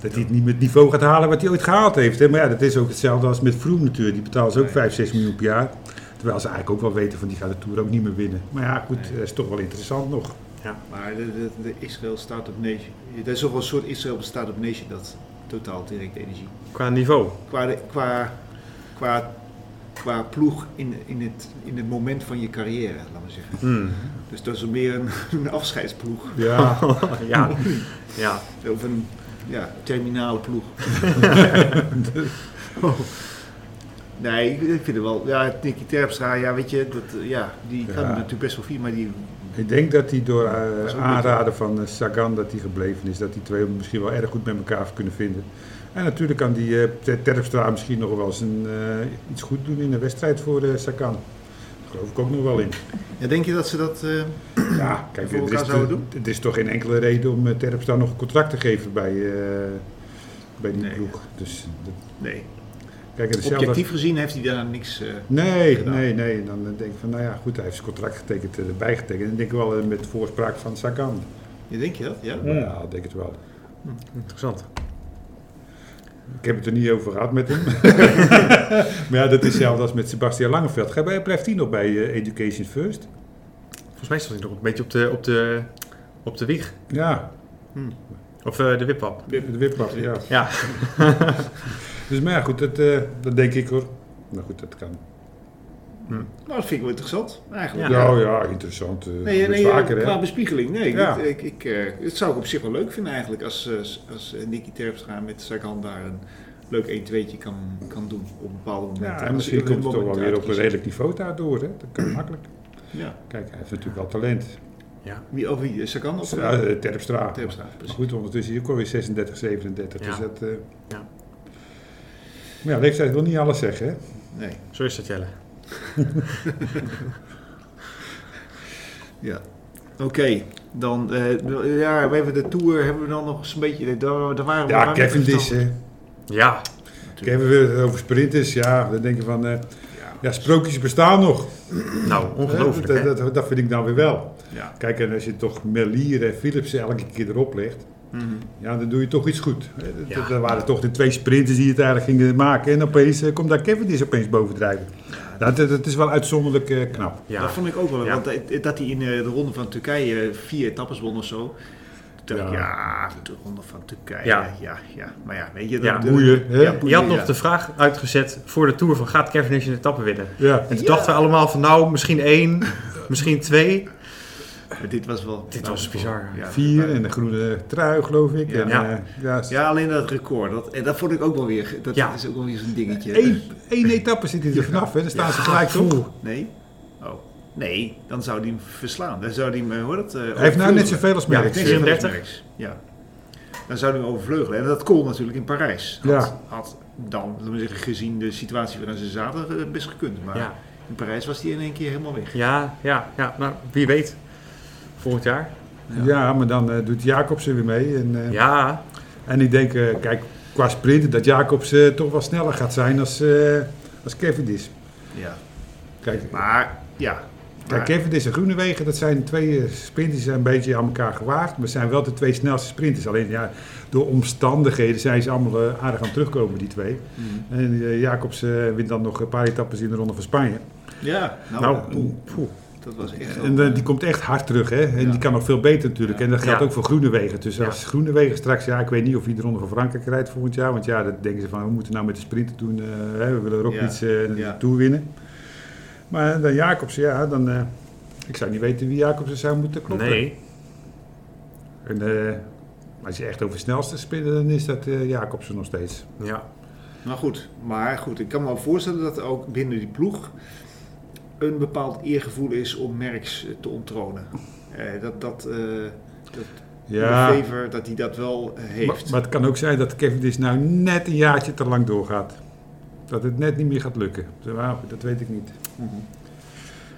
dat hij het niet met het niveau gaat halen wat hij ooit gehaald heeft. Hè. Maar ja, dat is ook hetzelfde als met Vroom natuurlijk. Die betaalt ze ook Nee. 5, 6 miljoen per jaar. Terwijl ze eigenlijk ook wel weten van die gaat de Tour ook niet meer winnen. Maar ja, goed, Nee. dat is toch wel interessant nog. maar de, de, de Israël Startup Nation, dat is toch wel een soort Israël Startup Nation dat totaal direct energie. qua niveau. Qua, de- qua, qua, qua ploeg in, in, het, in het moment van je carrière, laten we zeggen. Hmm. Dus dat is meer een, een afscheidsploeg. Ja, ja, ja. Of een ja, terminale ploeg. Dus- Nee, ik ik vind het wel. Ja, Nicky Terpstra, ja, weet je, dat, eh, ja, die kan Ja. er natuurlijk best wel vier, maar die. Ik denk dat hij door eh, is ook aanraden van eh, Sagan dat hij gebleven is. Dat die twee misschien wel erg goed met elkaar hebben kunnen vinden. En natuurlijk kan die eh, Ter- Terpstra misschien nog wel eens een, eh, iets goed doen in een wedstrijd voor eh, Sagan. Daar geloof ik ook nog wel in. Ja, denk je dat ze dat. eh, Ja, kijk, Voor er elkaar is, zouden te- doen? er is toch geen enkele reden om eh, Terpstra nog een contract te geven bij, eh, bij die Nee. ploeg. Dus, dat- nee. kijk, hetzelfde als- Objectief gezien heeft hij daar niks. eh, Nee, gedaan. nee, nee. En dan eh, denk ik van, nou ja, goed, hij heeft zijn contract getekend, eh, erbij getekend. En dan denk ik wel eh, met voorspraak van Sagan. ja, denk je dat? Ja. Ja, ik denk het wel. Interessant. Ik heb het er niet over gehad met hem. maar ja, dat is hetzelfde als met Sebastian Langeveld. Ga- Blijft hij nog bij eh, Education First? Volgens mij stond hij nog een beetje op de, op de, op de wieg. Ja, Of eh, de wipwap. de wipwap, ja. Ja. Dus maar ja, goed, dat, eh, dat denk ik hoor. Maar goed, dat kan. Nou, dat vind ik wel interessant, Ja, eigenlijk. ja, interessant. eh, Nee, gebeurt nee, vaker, qua hè? bespiegeling. Nee, Ja. ik, ik, ik, eh, het zou ik op zich wel leuk vinden eigenlijk als, eh, als eh, Nicky Terpstra met Sagan daar een leuk 1-2'tje kan, kan doen op een bepaalde moment. Ja, Als en misschien iedereen komt het toch moment wel weer op een uitkiest. redelijk niveau daardoor. Hè? Dat kan makkelijk. Ja, Kijk, hij heeft natuurlijk wel talent. wie, of wie, eh, Sagan of Ja, eh, Terpstra. Terpstra, Maar precies. goed, ondertussen is hij ook alweer 36, 37. Dus Ja. dat... eh, Ja. Maar ja, leeftijd wil niet alles zeggen, hè? Nee, Zo is dat, Jelle. ja. Oké, dan, eh, ja, we hebben de tour, hebben we dan nog eens een beetje, daar, daar waren we Ja, daar waren we Cavendish, verstand- hè. Ja, Kijk, hebben we het over sprinters. Ja, dan denk je van, eh, Ja. ja, sprookjes bestaan nog. nou, ongelooflijk. Eh, hè? dat, dat, dat vind ik dan weer wel. Ja. Kijk, en als je toch Melier en Philips elke keer erop legt, Mhm. ja, dan doe je toch iets goed. Eh, dat- Ja. Dat waren toch de twee sprinters die het eigenlijk gingen maken. En opeens eh, komt daar Cavendish opeens bovendrijven. Nou, Dat, dat, dat is wel uitzonderlijk eh, knap. Ja, Dat vond ik ook wel. Ja. Want dat- dat hij in eh, de ronde van Turkije eh, vier etappes won of zo. Toen dacht ik, ja. de ronde van Turkije. Ja, Ja. ja. Maar ja, weet je. Ja, de- boeien, hè? Ja, boeien, je had nog ja. de vraag uitgezet voor de Tour van gaat Cavendish een etappe winnen? Ja. En Ja. toen dachten we allemaal van nou, misschien één, misschien twee. Maar dit was wel... Dit was bizar. Ja, Vier maar- en een groene trui, geloof ik. Ja. En, Ja. eh, ja, s- Ja, alleen dat record. Dat, en dat vond ik ook wel weer... Dat Ja. is ook wel weer zo'n dingetje. Eén, één etappe zit hij er vanaf, hè. Dan staan ze gelijk voor. Nee? Oh. Nee, dan zou hij hem verslaan. Dan zou hij hem, eh, hoe heet dat? Hij heeft nou net zoveel als Ja, Merckx. het is een- 36. Ja. Dan zou hij hem overvleugelen. En dat kon natuurlijk in Parijs. Had, Ja. had dan, laten we zeggen, gezien de situatie waarin ze zaten, eh, best gekund. Maar Ja, in Parijs was hij in één keer helemaal weg. ja, ja, ja. Nou, wie weet. Volgend jaar. Ja, maar dan eh, doet Jacobsen weer mee. En, eh, Ja, en ik denk, eh, kijk, qua sprinten, dat Jacobsen toch wel sneller gaat zijn als, eh als Cavendish. Ja. Kijk, Maar, ja. Kijk, Maar- Kevin en Groenewegen, dat zijn twee eh, sprinters, die zijn een beetje aan elkaar gewaagd. Maar zijn wel de twee snelste sprinters. Alleen ja, door omstandigheden zijn ze allemaal eh, aardig aan het terugkomen, die twee. Mhm. En eh, Jacobs eh, wint dan nog een paar etappes in de Ronde van Spanje. Ja, nou, nou, poeh, poeh. dat was echt En wel- eh, die komt echt hard terug, hè. En Ja. die kan nog veel beter natuurlijk. Ja. En dat geldt Ja. ook voor Groenewegen. Dus Ja. als Groenewegen straks, ja, ik weet niet of hij de Ronde van Frankrijk rijdt volgend jaar. Want ja, dat denken ze van, we moeten nou met de sprinten doen. eh, hè, we willen er ook Ja. iets eh Ja. toe winnen. Maar eh, dan Jacobs, ja, dan... eh, ik zou niet weten wie Jacobsen zou moeten kloppen. nee. En, eh, als je echt over snelste sprinten, dan is dat eh Jacobsen nog steeds. Ja. Maar goed, maar goed, ik kan me wel voorstellen dat er ook binnen die ploeg een bepaald eergevoel is om Merks te onttronen. Eh, dat dat, eh dat Ja, de favor, dat hij dat wel eh, maar, heeft. maar het kan ook zijn dat Cavendish nou net een jaartje te lang doorgaat. Dat het net niet meer gaat lukken. Maar dat weet ik niet. Mhm.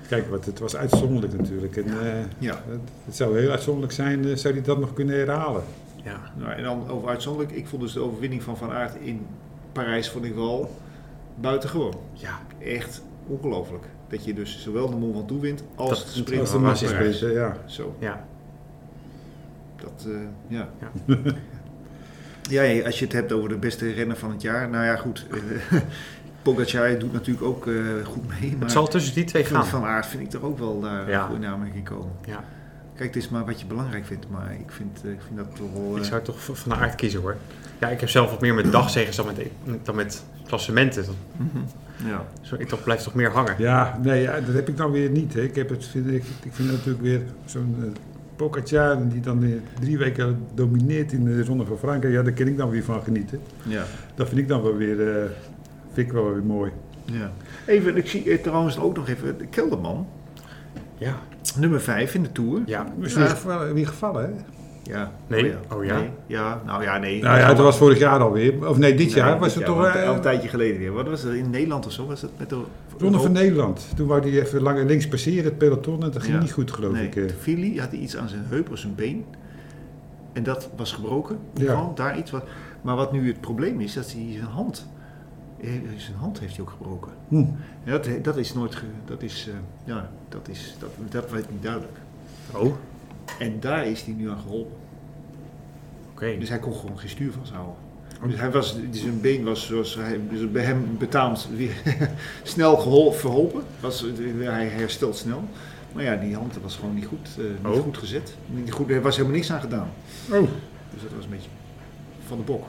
Kijk, wat, het was uitzonderlijk natuurlijk. En, eh, Ja, het, het zou heel uitzonderlijk zijn, eh, zou hij dat nog kunnen herhalen. Ja. nou, en dan over uitzonderlijk, ik vond dus de overwinning van Van Aert in Parijs vond ik wel buitengewoon. Ja. Echt ongelooflijk. Dat je dus zowel de Mont Ventoux wint als Dat- de sprint Als de van massa is Parijs. sprint, eh, ja. Zo, Ja. dat, eh, ja. Ja. Ja, ja, als je het hebt over de beste renner van het jaar. Nou ja, goed. eh, Pogacar doet natuurlijk ook eh, goed mee. Maar Het zal tussen die twee ik vind gaan. Van Aert vind ik toch ook wel daar Ja. voor in aanmerking komen. Ja. Kijk, het is maar wat je belangrijk vindt. Maar ik vind, eh, ik vind dat toch wel... eh, Ik zou toch voor van de aard kiezen hoor. Ja, ik heb zelf wat meer met dagzegens dan met, e- dan met klassementen. Dat- mhm. ja. Zo, ik dat blijft toch meer hangen. Ja, nee, ja, dat heb ik dan weer niet. Hè. Ik, heb het, vind, ik, ik vind natuurlijk weer zo'n eh Pogacar die dan eh, drie weken domineert in de Ronde van Frankrijk. Ja, daar kan ik dan weer van genieten. ja. Dat vind ik dan wel weer, eh vind ik wel weer mooi. ja. Even, ik zie eh, trouwens ook nog even... de Kelderman, Ja. nummer 5 in de Tour. Ja. Dus Ja. weer, gevallen, weer gevallen, hè? Ja. Nee. Oh ja. Oh ja. Nee. Ja, nou ja, nee. Nou ja, het was vorig jaar alweer. Of nee, dit jaar was het toch... Al eh, een tijdje geleden weer. Wat was het? In Nederland of zo? Was dat met de... Ronde van Nederland. Toen wou hij even lang links passeren, het peloton. En dat ging Ja. niet goed, geloof nee, ik. eh. Fili had hij iets aan zijn heup of zijn been. En dat was gebroken. Ja. Gewoon daar iets wat. Maar wat nu het probleem is, dat hij zijn hand. eh, Zijn hand heeft hij ook gebroken. Hm. En dat, eh, dat is nooit. ge- dat is. eh, ja, dat is. Dat, dat werd niet duidelijk. Oh. Oké. En daar is hij nu aan geholpen. Dus hij kon gewoon geen stuur vasthouden. Dus hij was, zijn been was zoals hij, dus bij hem betaamd weer snel gehol, verholpen. Was, hij herstelt snel. Maar ja, die hand was gewoon niet goed, eh, niet Oh. goed gezet. Niet goed, er was helemaal niks aan gedaan. Oh, Dus dat was een beetje van de bok.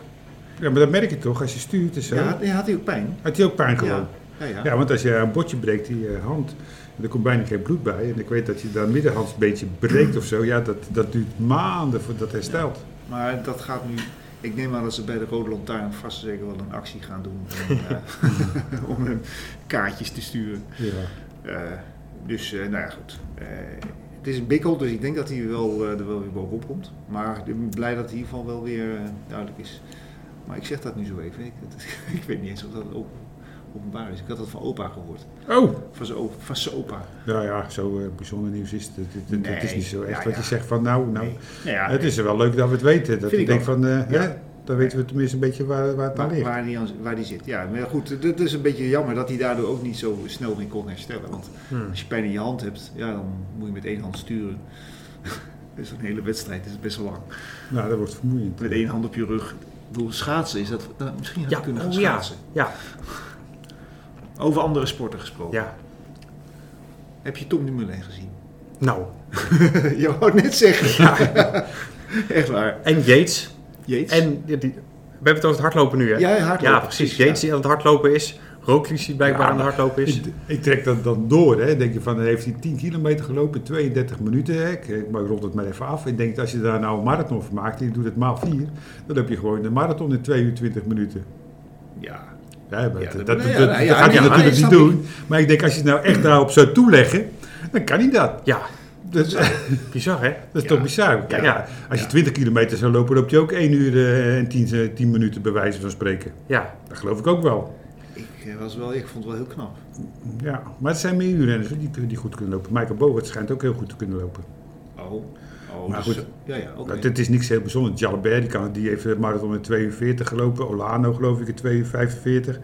ja, maar dat merk je toch, als je stuurt en zo. Ja, had, had hij ook pijn? Had hij ook pijn gewoon. Ja, ja, ja. Ja, want als je een botje breekt, die eh, hand, en er komt bijna geen bloed bij. En ik weet dat je daar middenhand een beetje breekt of zo. Ja, dat, dat duurt maanden voordat dat herstelt. Maar dat gaat nu. Ik neem aan dat ze bij de Rode Lantaarn vast en zeker wel een actie gaan doen. Om, eh, om hem kaartjes te sturen. Ja. Eh, dus, eh, nou ja, goed. Eh, het is een bikkel, dus ik denk dat hij wel, eh, er wel weer bovenop komt. Maar ik ben blij dat hij in ieder geval wel weer eh, duidelijk is. Maar ik zeg dat nu zo even. Ik, ik weet niet eens of dat op- openbaar is. Ik had dat van opa gehoord. Oh! Van zijn opa. Van zijn opa. Nou ja, zo eh, bijzonder nieuws is het. Het, het- het Nee, is niet zo echt ja, wat ja. je zegt van nou, nou. Nee. Nou ja, Het is wel leuk dat we het weten. Dat Vind ik ik denk ook. van, eh, Ja. hè, dan weten we tenminste een beetje waar, waar het aan waar, ligt. waar, die, aan- waar die zit. Ja, maar goed, het is een beetje jammer dat hij daardoor ook niet zo snel meer kon herstellen. Want Hmm. als je pijn in je hand hebt, ja, dan moet je met één hand sturen. dus een hele wedstrijd is best wel lang. Nou, dat wordt vermoeiend. Met één hand op je rug. Ik bedoel, schaatsen is dat. nou, misschien had ik Ja, kunnen gaan oh ja. schaatsen. Ja. Over andere sporten gesproken. Ja. Heb je Tom Dumoulin gezien? Nou. je wou het net zeggen. Echt waar. En Yates. Jeets. En die, die- we hebben het over het hardlopen nu hè? ja, hardlopen. Ja, precies. Yates die aan het hardlopen is. Roglic die blijkbaar aan het hardlopen is. Ik, ik trek dat dan door. Hè. Denk je van, heeft hij 10 kilometer gelopen, 32 minuten. Hè. Ik, ik rond het maar even af. Ik denk, als je daar nou een marathon van maakt, en je doet het maal 4, dan heb je gewoon een marathon in 2 uur 20 minuten. Ja. Ja, maar Ja, dat, dat- dat, ja, dat- ja, dat ja, gaat hij ja, natuurlijk ja, niet snap doen. Maar ik denk, als je het nou echt daarop zou toeleggen, Dan kan hij dat. Ja, Dat is, dat bizar hè? is Ja. toch bizar. Kijk, Ja. Als je Ja. 20 kilometer zou lopen, loop je ook 1 uur eh, en 10, eh, 10 minuten bij wijze van spreken. Ja, Dat geloof ik ook wel. Ik, eh, was wel, ik vond het wel heel knap. Ja, maar het zijn meer wielrenners hoor, die, die goed kunnen lopen. Michael Bogert schijnt ook heel goed te kunnen lopen. Oh, oh Maar dus- goed. Ja, ja, oké. Dat, het Nou, is niks heel bijzonders. Jalabert die, kan, die heeft de marathon in 42 gelopen. Olano geloof ik in 245.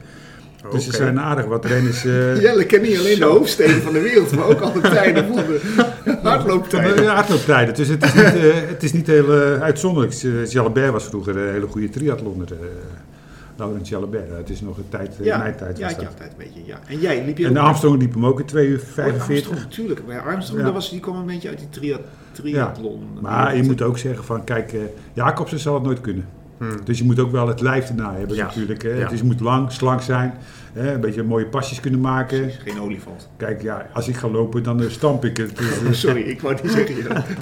Dus er Oké. zijn aardig wat renners. eh Jelle kent niet alleen de hoofdsteden van de wereld, maar ook alle tijden van de hardlooptijden. Ja, hardlooptijden. Dus het is niet, eh, het is niet heel eh, uitzonderlijk. Eh, Jalabert was vroeger een hele goede triathlonner. eh Laurent Jalabert. Het is nog een tijd, eh, ja, mijn tijd ja, was ik dat. had tijd een beetje. Ja. En jij liep je En ook- Armstrong liep hem ook in 2 uur Oh, 45. Armstrong, tuurlijk. Bij Armstrong Ja. daar was, die kwam een beetje uit die tria- triathlon. Maar je moet ook zeggen van, kijk, eh, Jacobsen zal het nooit kunnen. Hmm. Dus je moet ook wel het lijf erna hebben Ja. natuurlijk. Hè. Ja. Het is, moet lang, slank zijn. Hè. Een beetje mooie pasjes kunnen maken. Geen olifant. Kijk, ja, als ik ga lopen, dan eh, stamp ik het. Dus, eh, Sorry, ik wou niet zeggen.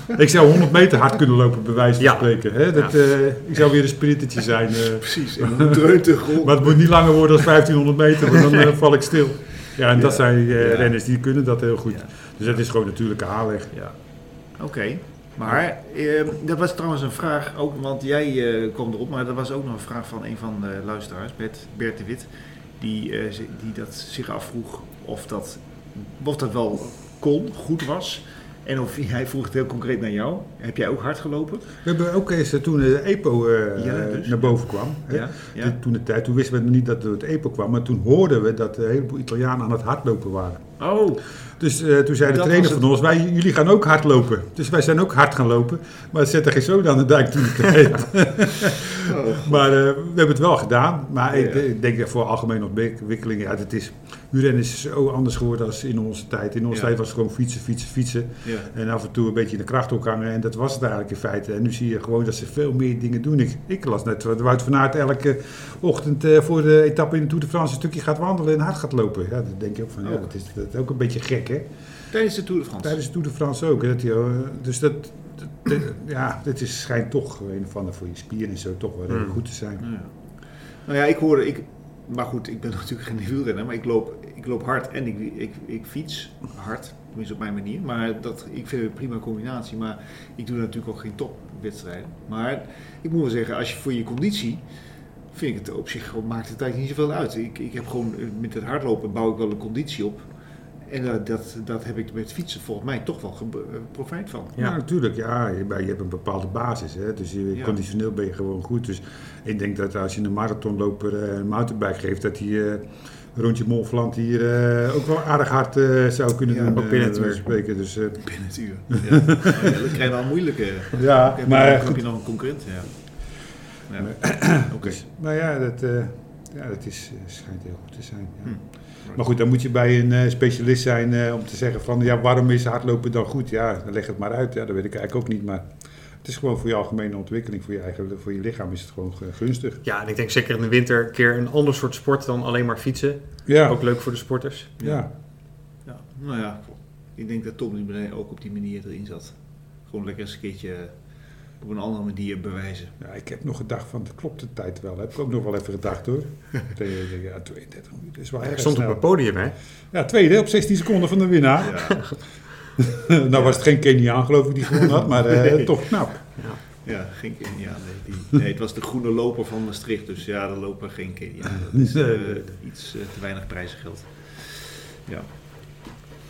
ja. ik zou 100 meter hard kunnen lopen, bij wijze van Ja. spreken. Hè. Dat, eh, ik zou weer een sprintertje zijn. eh. Precies, en een dreunte grond. Maar het moet niet langer worden dan 1500 meter, want dan eh, val ik stil. Ja, en dat Ja. zijn eh, Ja. renners die kunnen dat heel goed. Ja. Dus dat is gewoon natuurlijke aanleg. Ja. Oké. Maar eh, dat was trouwens een vraag ook, want jij eh, kwam erop, maar dat was ook nog een vraag van een van de luisteraars, Bert, Bert de Wit, die, eh, zi- die dat zich afvroeg of dat, of dat wel kon, goed was. En of hij vroeg het heel concreet naar jou. Heb jij ook hard gelopen? We hebben ook eens eh, toen de EPO eh, Ja, dus. naar boven kwam. Hè. ja. Toen- Toen, de tijd, toen wisten we nog niet dat het EPO kwam, maar toen hoorden we dat een heleboel Italianen aan het hardlopen waren. Oh, Dus eh, toen zei de Dat trainer was het. van ons, wij, jullie gaan ook hardlopen. Dus wij zijn ook hard gaan lopen, maar het zette geen zoden aan de dijk toen de tijd. Oh. maar eh, we hebben het wel gedaan, maar ik, Ja. ik denk dat voor algemene ontwikkelingen, ja, het is, wielrennen is zo anders geworden als in onze tijd. In onze Ja. tijd was het gewoon fietsen, fietsen, fietsen. ja. En af en toe een beetje in de kracht ophangen. En dat was het eigenlijk in feite. En nu zie je gewoon dat ze veel meer dingen doen. Ik, ik las net wat Wout van Aert elke ochtend eh, voor de etappe in de Tour de France een stukje gaat wandelen en hard gaat lopen. Ja, dan denk je ook van, ja, Ook. dat is dat is ook een beetje gek, hè? Tijdens de Tour de France. Tijdens de Tour de France ook. hè, Dat, die, eh, dus dat, dat- dat- ja, dit is, schijnt toch een of ander voor je spieren en zo toch wel heel Hmm. Mm. goed te zijn. Ja. Nou ja, ik hoorde, ik, maar goed, ik ben natuurlijk geen wielrenner, maar ik loop, ik loop hard en ik, ik, ik fiets hard, tenminste op mijn manier. Maar dat, ik vind het een prima combinatie, maar ik doe natuurlijk ook geen topwedstrijden. Maar ik moet wel zeggen, als je voor je conditie, vind ik het op zich gewoon, maakt het eigenlijk niet zoveel uit. Ik, ik heb gewoon, eh, met het hardlopen bouw ik wel een conditie op. En dat, dat, dat heb ik met fietsen volgens mij toch wel gebe- eh, profijt van. Ja, Ja. natuurlijk. Ja, je, maar je hebt een bepaalde basis. Hè? Dus je, Ja. conditioneel ben je gewoon goed. Dus ik denk dat als je een marathonloper eh, een mountainbike geeft, dat hij eh, rondje Montfland hier eh, ook wel aardig hard eh, zou kunnen Ja, doen. ook eh, binnen het bij wijze uur. van spreken. Dus, eh, Binnen het uur. Ja. Nou ja, dat krijg je wel eh. moeilijke. ja, Heb je- maar heb goed. je nog een concurrent? Ja. Ja. Dus, Oké. Nou ja, dat, eh, ja, dat is, eh, schijnt heel goed te zijn. Ja. Hm. Maar goed, dan moet je bij een eh, specialist zijn eh, om te zeggen van ja, waarom is hardlopen dan goed? Ja, dan leg het maar uit. Ja, dat weet ik eigenlijk ook niet. Maar het is gewoon voor je algemene ontwikkeling, voor je, eigen, voor je lichaam is het gewoon eh, gunstig. ja, en ik denk zeker in de winter een keer een ander soort sport dan alleen maar fietsen. Ja, Ook leuk voor de sporters. ja. Ja. Nou ja, ik denk dat Tom Dumoulin ook op die manier erin zat. Gewoon lekker eens een keertje op een andere manier bewijzen. Ja, ik heb nog gedacht van, dat klopt de tijd wel. Heb ik ook nog wel even gedacht hoor. Ik denk, ik denk, ja, 32 minuten is wel Ik erg stond op snel. het podium, hè? Ja, tweede op 16 seconden van de winnaar. Ja, nou was het geen Keniaan geloof ik die gewonnen had, maar eh, toch knap. ja geen Keniaan. Nee, die- nee, het was de groene loper van Maastricht, dus ja, de loper geen Keniaan. Dat is eh, Nee, nee, nee. iets eh, te weinig prijzengeld. Ja.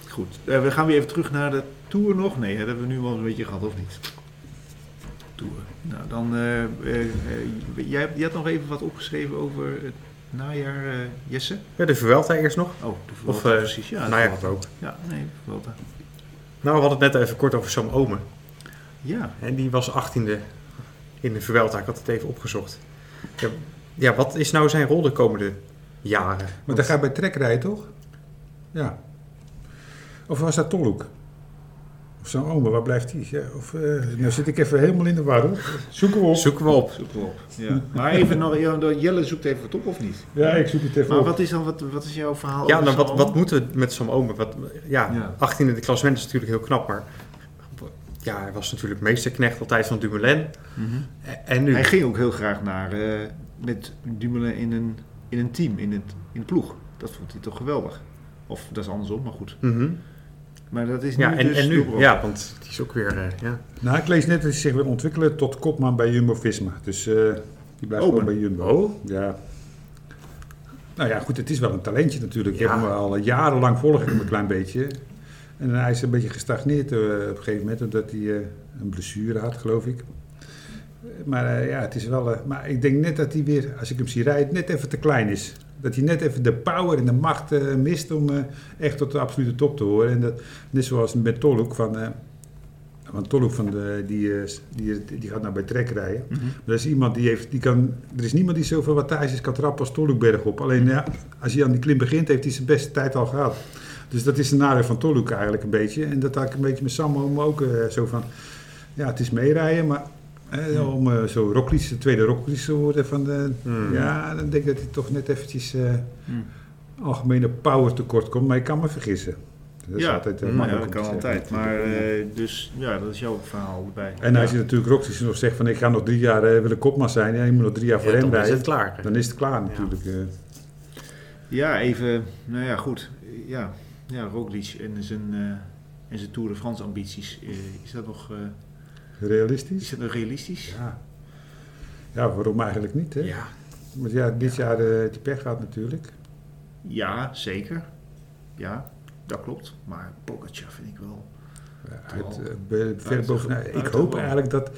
Goed, Eh, we gaan weer even terug naar de Tour nog. Nee, hè, dat hebben we nu wel een beetje gehad, of niet? Tour. Nou, dan... eh, eh, eh, jij, hebt- je had nog even wat opgeschreven over het najaar, eh, Jesse? Ja, de Vuelta eerst nog. Oh, de Of, Vuelta, eh, precies. Ja, de nou ja, Vuelta. ook. Ja, nee, Vuelta. Nou, we hadden het net even kort over Sam Omen. Ja, En die was 18e in de Vuelta. Ik had het even opgezocht. Ja, ja, wat is nou zijn rol de komende jaren? Maar dat gaat bij Trek rijden toch? Ja. Of was dat Tolhoek? Of zo'n oma, waar blijft die? Ja, of, eh, Nou zit ik even helemaal in de war hoor. Zoeken we op. Zoeken we op. zoek wel op. Ja. Maar even nog, Jelle zoekt even wat op, of niet? Ja, ik zoek het even Maar op. wat is dan, wat, wat is jouw verhaal? Ja, over nou, wat, Sam? wat moeten we met Sam Omen? Wat, ja, Ja. 18e in de klassement is natuurlijk heel knap, maar ja, hij was natuurlijk meesterknecht altijd van Dumoulin. Mhm. En- En nu, Hij ging ook heel graag naar, eh, met Dumoulin in een, in een team, in, het, in de ploeg. Dat vond hij toch geweldig. Of dat is andersom, maar goed. Mhm. Maar dat is nu Ja, en, dus en nu? Dubrow. Ja, want die is ook weer... eh, ja. Nou, ik lees net dat ze zich weer ontwikkelen tot kopman bij Jumbo-Visma. Dus eh, die blijft Oh, gewoon maar- bij Jumbo. Ja. Nou ja, goed, het is wel een talentje natuurlijk. Ja. Ik heb hem al jarenlang volg ik hem een klein beetje. En hij is een beetje gestagneerd eh, op een gegeven moment, omdat hij eh, een blessure had, geloof ik. Maar eh, ja, het is wel... eh, maar ik denk net dat hij weer, als ik hem zie rijden, net even te klein is. Dat hij net even de power en de macht eh, mist om eh, echt tot de absolute top te horen. En dat, net zoals met Tolhoek van... eh, want Tolhoek van de, die, eh, die, die gaat nou bij Trek rijden. Mhm. Maar Mhm. dat is iemand die heeft, die kan, er is niemand die zoveel wattages kan trappen als Tolhoekberg op. Alleen ja, als hij aan die klim begint, heeft hij zijn beste tijd al gehad. Dus dat is een nadeel van Tolhoek eigenlijk een beetje. En dat had ik een beetje met Sammo ook eh, zo van, ja het is meerijden, maar eh, om eh, zo Rocklies, de tweede Rocklies te worden van de, Mm. Hmm. ja, dan denk ik dat hij toch net eventjes eh, Hmm. algemene power tekort komt. Maar ik kan me vergissen. Dat is Ja, altijd eh, nou Maar ja, makkelijk dat om te kan zeggen altijd. Maar natuurlijk. eh, Ja. dus ja, dat is jouw verhaal erbij. En als Ja. je natuurlijk Roxy nog zegt van ik ga nog drie jaar eh, willen kopman zijn, ja, je moet nog drie jaar voor Ja, hem dan is rijden, het klaar. dan is het klaar natuurlijk. eh. Ja, even, nou ja, goed. Ja, ja Roglic en zijn, eh, en zijn Tour de France ambities. eh, is, dat nog, eh, is Realistisch? dat nog realistisch? Ja. ja, waarom eigenlijk niet? Hè? Ja, Want ja, dit jaar eh die pech gehad natuurlijk. Ja, zeker. Ja, dat klopt. Maar Pogacar vind ik wel... Uit, eh, be- ver Buiten- bovenuit. Ik buitengewoon. hoop eigenlijk dat,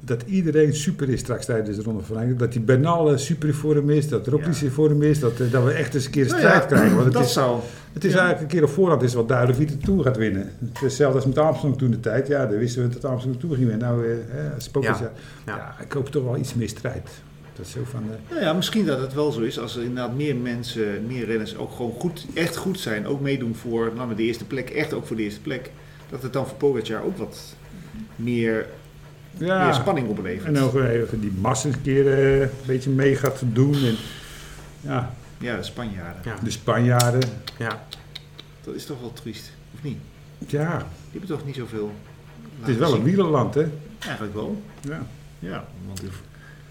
dat iedereen super is straks tijdens de Ronde van Frankrijk. Dat die Bernal eh, super voor hem is, dat Roglic Ja. voor hem is, dat, eh, dat we echt eens een keer een Nou strijd ja, krijgen. Want het dat is, zou... Het is Ja. eigenlijk een keer op voorhand is wel duidelijk wie de Tour gaat winnen. Het is Hetzelfde als met Armstrong toen de tijd. Ja, dan wisten we dat Armstrong de Tour ging winnen. Nou, eh, eh, Spokers, Ja, ja. ja. Ja. ik hoop toch wel iets meer strijd. Dat is zo van... eh, Nou ja, misschien dat het wel zo is als er inderdaad meer mensen, meer renners ook gewoon goed, echt goed zijn. Ook meedoen voor laten we de eerste plek, echt ook voor de eerste plek. Dat het dan voor Pogacar ook wat meer, meer ja, spanning oplevert. eh, en ook eh, even die massa een keer eh, een beetje mee gaat doen. En, ja, Ja, de Spanjaarden. ja, de Spanjaarden. ja. Dat is toch wel triest, of niet? Ja, Die hebben toch niet zoveel het is wel een wie. wielerland, hè? Eigenlijk wel, Ja. ja. Want de,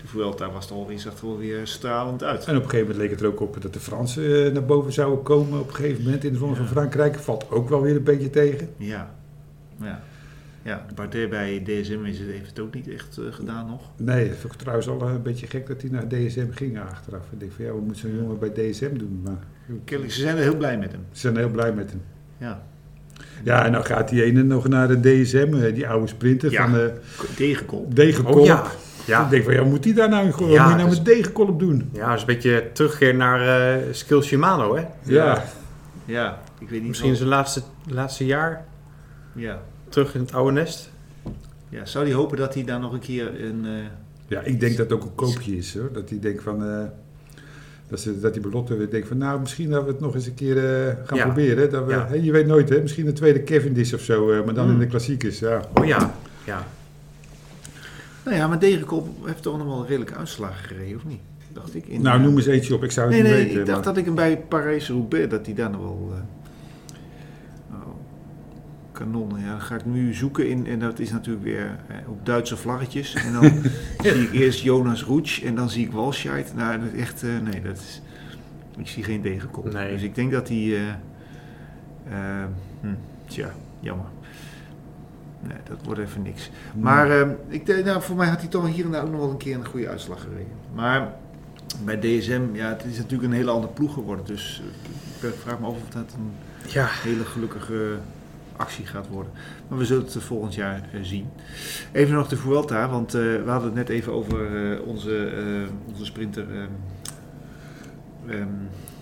de Vuelta was er alweer, zag er wel weer stralend uit. En op een gegeven moment leek het er ook op dat de Fransen eh, naar boven zouden komen. Op een gegeven moment in de Ronde van Frankrijk. Valt ook wel weer een beetje tegen. Ja, ja. Ja, Bardet bij DSM is het, heeft het ook niet echt eh, gedaan nog. Nee, dat vond ik trouwens al een beetje gek dat hij naar DSM ging achteraf. Ik denk van ja, wat moet zo'n jongen bij DSM doen? Maar Kennelijk, ze zijn er heel blij met hem. ze zijn heel blij met hem. Ja. Ja, en dan gaat die ene nog naar de DSM, eh, die oude sprinter Ja. van eh Tegenkomt. Degenkolb. Oh ja, Ik ja. denk van ja, wat moet hij daar nou, in gooien? Wat Ja, moet je nou dus- met Degenkolb doen? Ja, dat is een beetje terugkeer naar eh Skill Shimano, hè? Ja, Ja, ik weet niet. Misschien of- zijn laatste, laatste jaar Ja. terug in het oude nest. ja, zou hij hopen dat hij daar nog een keer een. eh, ja ik denk dat het ook een koopje is hoor. Dat hij denkt van, eh, dat, ze, dat die Belotte weer denkt van nou, misschien dat we het nog eens een keer eh, gaan Ja. proberen. Dat we, Ja. hè, je weet nooit hè, misschien een tweede Cavendish of zo, eh, maar dan Mm. in de klassiekers. Ja. Oh ja, ja. Nou ja, maar Degenkop heeft toch nog wel een redelijke uitslagen gereden, of niet? Dacht ik. In, eh, Nou, noem eens eentje op, ik zou het Nee, niet nee, weten. ik dacht maar- dat ik hem bij Parijs-Roubaix, dat hij daar nog wel. eh, oh, kanonnen, ja, dat ga ik nu zoeken in. En dat is natuurlijk weer eh, op Duitse vlaggetjes. En dan zie ik eerst Jonas Roetsch en dan zie ik Walscheid. Nou, dat is echt, eh, nee, dat is. Ik zie geen degenkop. Nee. Dus ik denk dat hij. eh, eh, hm, tja, jammer. Nee, dat wordt even niks. Maar eh, ik denk, nou, voor mij had hij toch hier en daar ook nog wel een keer een goede uitslag gereden. Maar bij DSM, ja, het is natuurlijk een hele andere ploeg geworden. Dus eh, ik vraag me af of dat een Ja, hele gelukkige actie gaat worden. Maar we zullen het eh, volgend jaar eh, zien. Even nog de Vuelta, want eh, we hadden het net even over eh, onze, eh, onze sprinter ehm, ehm,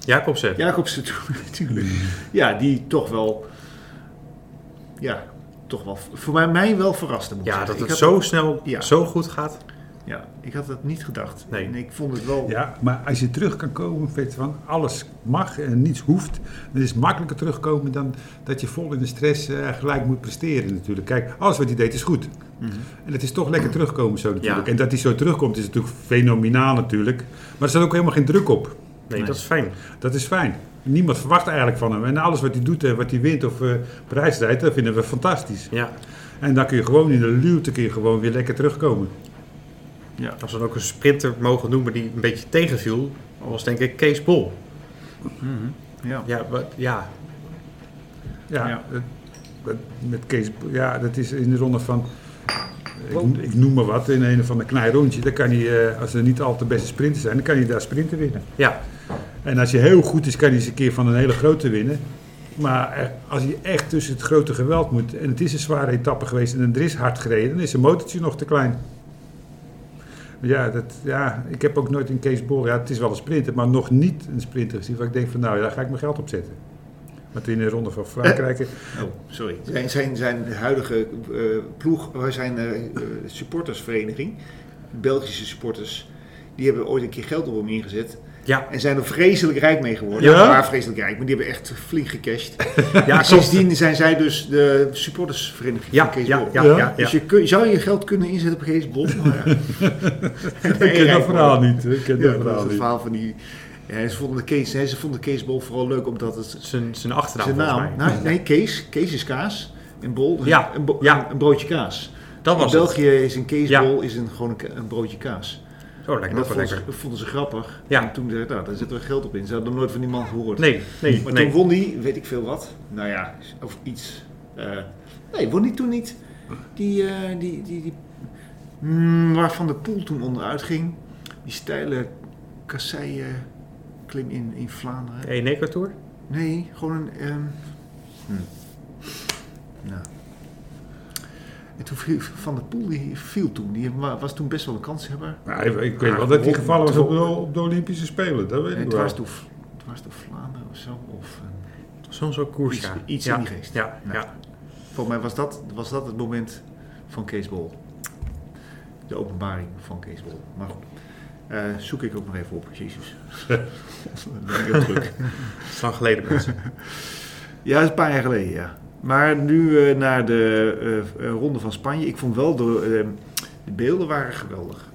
Jacobsen. Jacobsen toen natuurlijk. Ja, die toch wel, ja, toch wel, voor mij, mij wel verraste moet ik Ja, zeggen. dat Ik het had- zo snel, Ja. zo goed gaat. Ja, ik had dat niet gedacht. Nee. En ik vond het wel... Ja, maar als je terug kan komen, weet van alles mag en niets hoeft, dan is het makkelijker terugkomen dan dat je vol in de stress eh, gelijk moet presteren natuurlijk. Kijk, alles wat hij deed is goed. Mhm. En het is toch lekker terugkomen zo natuurlijk. Ja. En dat hij zo terugkomt is natuurlijk fenomenaal natuurlijk. Maar er staat ook helemaal geen druk op. Nee, Nee. dat is fijn. Dat is fijn. Niemand verwacht eigenlijk van hem. En alles wat hij doet en wat hij wint of eh prijs rijdt, dat vinden we fantastisch. Ja, En dan kun je gewoon in de luwte kun je gewoon weer lekker terugkomen. Ja. als we dan ook een sprinter mogen noemen die een beetje tegenviel, was denk ik Kees Bol. Mhm. ja. Ja, wat- ja. Ja, Ja. eh, met Kees, ja, dat is in de ronde van. Ik, ik noem maar wat, in een of ander klein rondje. Dan kan hij, eh, als er niet al de beste sprinters zijn, dan kan hij daar sprinten winnen. Ja, En als je heel goed is, kan hij eens een keer van een hele grote winnen. Maar eh, als je echt tussen het grote geweld moet, en het is een zware etappe geweest en er is hard gereden, dan is zijn motortje nog te klein. Maar Ja, dat, ja, ik heb ook nooit een Kees Bol, ja, het is wel een sprinter, maar nog niet een sprinter gezien. Waar ik denk van, nou, daar ga ik mijn geld op zetten. Maar toen in de ronde van Frankrijk, eh, Oh, sorry. Zijn, zijn, zijn huidige eh, ploeg, wij zijn eh, eh, supportersvereniging, Belgische supporters, die hebben ooit een keer geld op hem ingezet. ja, En zijn er vreselijk rijk mee geworden. Ja? Ja, maar vreselijk rijk, maar die hebben echt flink gecashed. Ja, en sindsdien zijn zij dus de supportersvereniging Ja, van Kees ja, Bol. ja, Ja? ja, ja. Dus je kun- zou je geld kunnen inzetten op Kees Bol? Maar ja. ik ken dat verhaal niet. Ik ken Ja, dat is dat verhaal het niet. verhaal van die... Ja, ze, vonden Kees, nee, ze vonden Kees Bol vooral leuk omdat het zijn, zijn achternaam zijn volgens naam. mij. Nou, nee, Kees. Kees is kaas. En bol is Ja, een, bo- ja. een broodje kaas. Dat was in België is een Ja. keesbol is een, gewoon een, ka- een broodje kaas. het. Zo En Oh, lijkt me nou, dat ook wel vonden lekker. ze, vonden ze grappig. Ja. En toen zeiden ze, nou, daar zetten we geld op in. Ze hadden nog nooit van die man gehoord. Nee, nee, maar nee. toen won hij, weet ik veel wat. Nou ja, of iets. Eh, nee, won hij toen niet. Die, eh, die, die, die mm, waarvan de poel toen onderuit ging. Die steile kasseien klim in, in Vlaanderen. Eneco Tour? Nee, gewoon een. ehm, hm. Nou. En toen viel Van der Poel, die viel toen. Die wa- was toen best wel een kanshebber. Maar ik, ik weet wel dat hij gevallen was op de, op de Olympische Spelen, dat weet En ik het wel. was door, het was door Vlaanderen of zo. Of, eh, Soms ook koers, ja. Iets- iets ja. in die geest. Ja, Nou. ja. volgens mij was dat, was dat het moment van Kees Bol. De openbaring van Kees Bol. Maar goed, eh, zoek ik ook nog even op. Jezus. Dan ben ik heel druk. Dat is lang geleden mensen. Ja, dat is een paar jaar geleden, ja. Maar nu eh, naar de eh, eh, Ronde van Spanje. Ik vond wel, de, eh, de beelden waren geweldig.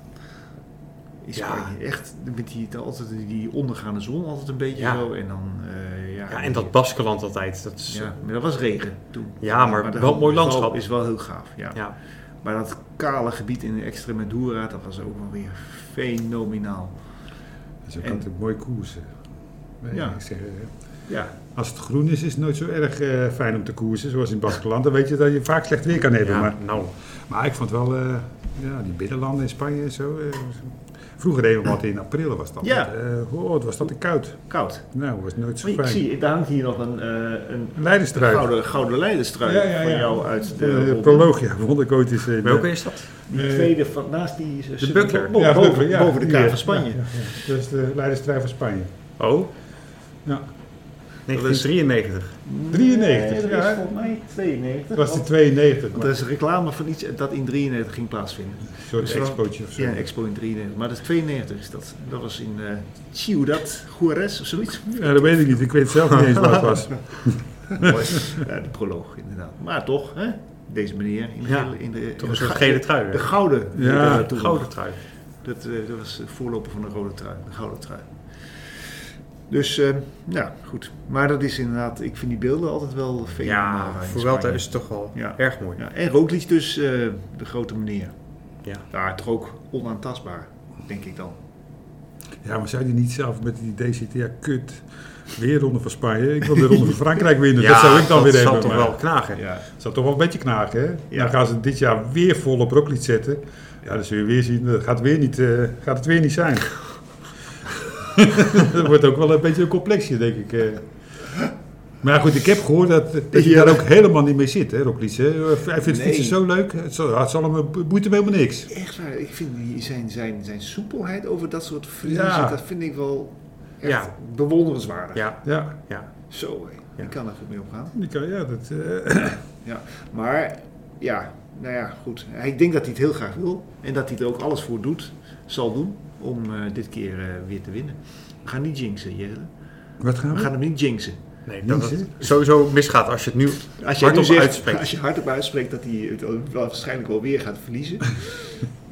In Ja. Spanje, echt. Met die, altijd die ondergaande zon altijd een beetje Ja. zo. En dan, eh, ja, Ja, en dat Baskeland altijd. Dat is, Ja, maar dat Dus, eh, was regen toen. Ja, maar de- wel een mooi is landschap. Is wel heel gaaf, ja. ja. Maar dat kale gebied in de Extremadura, dat was ook wel weer fenomenaal. Dat is ook En- altijd mooi koersen. Nee, Ja. ik zeg, eh, Ja, Als het groen is, is het nooit zo erg eh, fijn om te koersen. Zoals in Baskeland. Dan weet je dat je vaak slecht weer kan hebben. Ja, Maar, nou, maar ik vond wel, eh, ja, die binnenlanden in Spanje en zo. eh, vroeger deden we wat in april was dat. Ja. Eh, oh, het was dat te koud. koud. Nou, was nooit zo Ik fijn. zie, daar hangt hier nog een, eh, een Een leiderstruik. gouden, gouden leiderstrui Ja, ja, ja. van jou uit de, De ronde. prologia vond ik ooit eens. eh, welke is dat? Die Eh, tweede van, naast die eh, zit- buckler. bo- ja, boven, Buckler, ja, boven de die, kaart eh, van Spanje. ja, ja, ja. Dat is de leiderstruik van Spanje. Oh, Ja. 1993. 93, Nee, dat ja. is volgens mij 92. Dat was die want- 92, want maar er een is reclame van iets dat in 93 ging plaatsvinden. soort dus wel- expootje of zo. Ja, Expo in 93. Maar dat is 92 is dat. Dat was in eh Ciudad Juarez of zoiets. Ja, dat weet ik niet. Ik weet zelf niet eens wat het was. Mooi. ja, de proloog inderdaad. Maar toch, hè? op deze manier. In de, Ja, gele- in de, in Toch de een soort ga- gele trui. De hè? gouden. die Ja, daar De toe- gouden trui. Dat, eh, dat was de voorloper van de rode trui, de gouden trui. Dus, eh ja, goed. Maar dat is inderdaad, ik vind die beelden altijd wel fenomenaal. Ja, in voor wel Spanje. is het toch wel Ja. erg mooi. Ja, en Roglic dus eh, de grote meneer. Ja. Ja, toch ook onaantastbaar, denk ik dan. Ja, maar zou die niet zelf met die DCT, ja, kut, weer ronde van Spanje. Ik wil de ronde van Frankrijk winnen. dat zou ik dan weer zal hebben. toch maar- wel knagen. Ja, Dat zou toch wel een beetje knagen, hè? Ja. Dan gaan ze dit jaar weer vol op Rocklied zetten. Ja, dan zul je weer zien, dat gaat, weer niet, eh, gaat het weer niet zijn. dat wordt ook wel een beetje een complexje, denk ik. eh. Maar ja, goed, ik heb gehoord dat, dat je Ja. daar ook helemaal niet mee zit, hè, Rocklied. Hè? Hij vindt Nee. fietsen zo leuk, het zal, het zal hem, het boeit hem helemaal niks. echt waar. Ik vind die, zijn, zijn, zijn soepelheid over dat soort verliezen, Ja. dat vind ik wel echt Ja. bewonderenswaardig. Ja, Ja, ja. Zo, hé. Ja. ik kan er goed mee opgaan. die kan- ja dat... eh, Maar ja, nou ja, goed. Ik denk dat hij het heel graag wil. En dat hij er ook alles voor doet, zal doen, om eh, dit keer eh, weer te winnen. We gaan niet jinxen, Jelle. wat gaan We we? gaan hem niet jinxen. Nee, dat Niks, het sowieso misgaat als je het nu... Als jij nu Hardop zegt, uitspreekt. als je hardop uitspreekt dat hij het wel- waarschijnlijk wel weer gaat verliezen,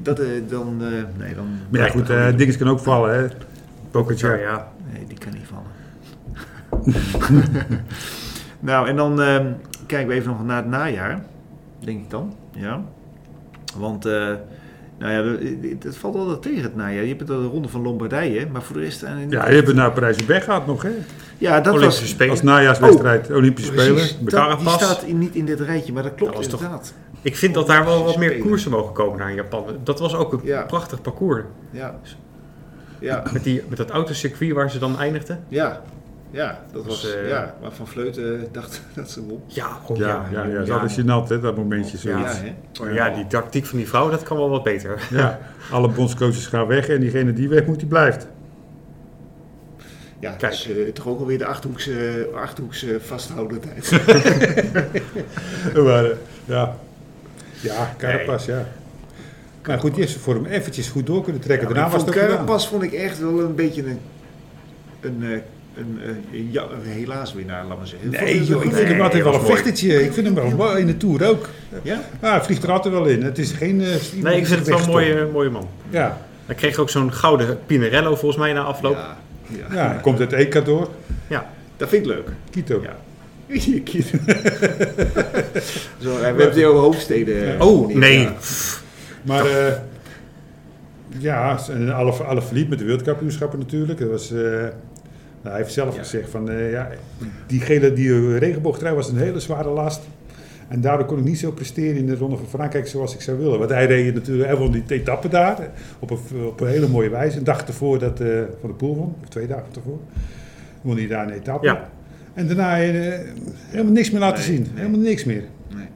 dat, eh, dan, eh, nee, dan... Maar ja, goed, eh dinges kan ook vallen, hè. Pokertje. Sorry, ja. Nee, die kan niet vallen. nou, en dan ehm, kijken we even nog naar het najaar, denk ik dan. Ja. Want, eh, nou ja, we- het- het valt altijd tegen het najaar. Je hebt de ronde van Lombardije, maar voor de rest... zijn er niet- Ja, je hebt het naar Parijs weg gehad nog, hè? Ja, dat Olympische was... Spelen. Als najaarswedstrijd, Olympische Precies, Spelen. dat- die Carapaz. staat in- niet in dit rijtje, maar dat klopt Dat was toch- inderdaad. Ik vind dat daar wel wat meer Spelen. koersen mogen komen naar Japan. Dat was ook een Ja. prachtig parcours. Ja. Ja, Met, die, met dat autocircuit waar ze dan eindigden. ja, ja, dat was... Dus, eh, ja, maar Van Vleuten eh, dacht dat ze won. Ja, oh Ja, ja, eh, ja, ja. dat is gênant, hè, dat momentje Ja, zoiets. hè? Maar ja, die tactiek van die vrouw, dat kan wel wat beter. Ja, alle bondscoaches gaan weg en diegene die weg moet, die blijft. Ja, het Kijk. is eh, toch ook alweer de Achterhoekse, achterhoekse vasthoudendheid. Maar, eh, ja, ja Carapaz, ja. Maar goed, eerst voor hem eventjes goed door kunnen trekken. Daarna was Van het ook gedaan. Carapas vond ik echt wel een beetje een... een, eh, een, eh, een ja- een helaas winnaar, laat maar zeggen. Nee, joh, ik ik vind hem altijd wel een mooi. vechtertje. Ik vind hem wel mooi in de Tour ook. Ja? Ja, hij vliegt er altijd wel in. Het is geen... eh, iemand Nee, ik die vind het wel eh. wegstopt. een mooie, mooie man. Ja, Hij kreeg ook zo'n gouden Pinarello volgens mij na afloop. Ja, Ja, ja. ja, hij komt uit Ecuador. dat vind ik leuk. Quito. Ja. Je kind. Zo, eh, we hebben die over hoofdsteden. eh, Oh, niet, nee. ja. Maar eh, ja, en alle, alle verliep met de wereldkampioenschappen natuurlijk. Dat was, eh, nou, hij heeft zelf Ja. gezegd van eh, ja, die gele die regenboogtrui was een hele zware last. En daardoor kon ik niet zo presteren in de Ronde van Frankrijk zoals ik zou willen. Want hij reed natuurlijk, hij won die etappe daar eh, op een, op een hele mooie wijze. Een dag ervoor dat eh, Van de Poel won, of twee dagen ervoor, won hij daar een etappe. Ja. En daarna eh, helemaal niks meer laten Nee, zien. nee. Helemaal niks meer. Nee.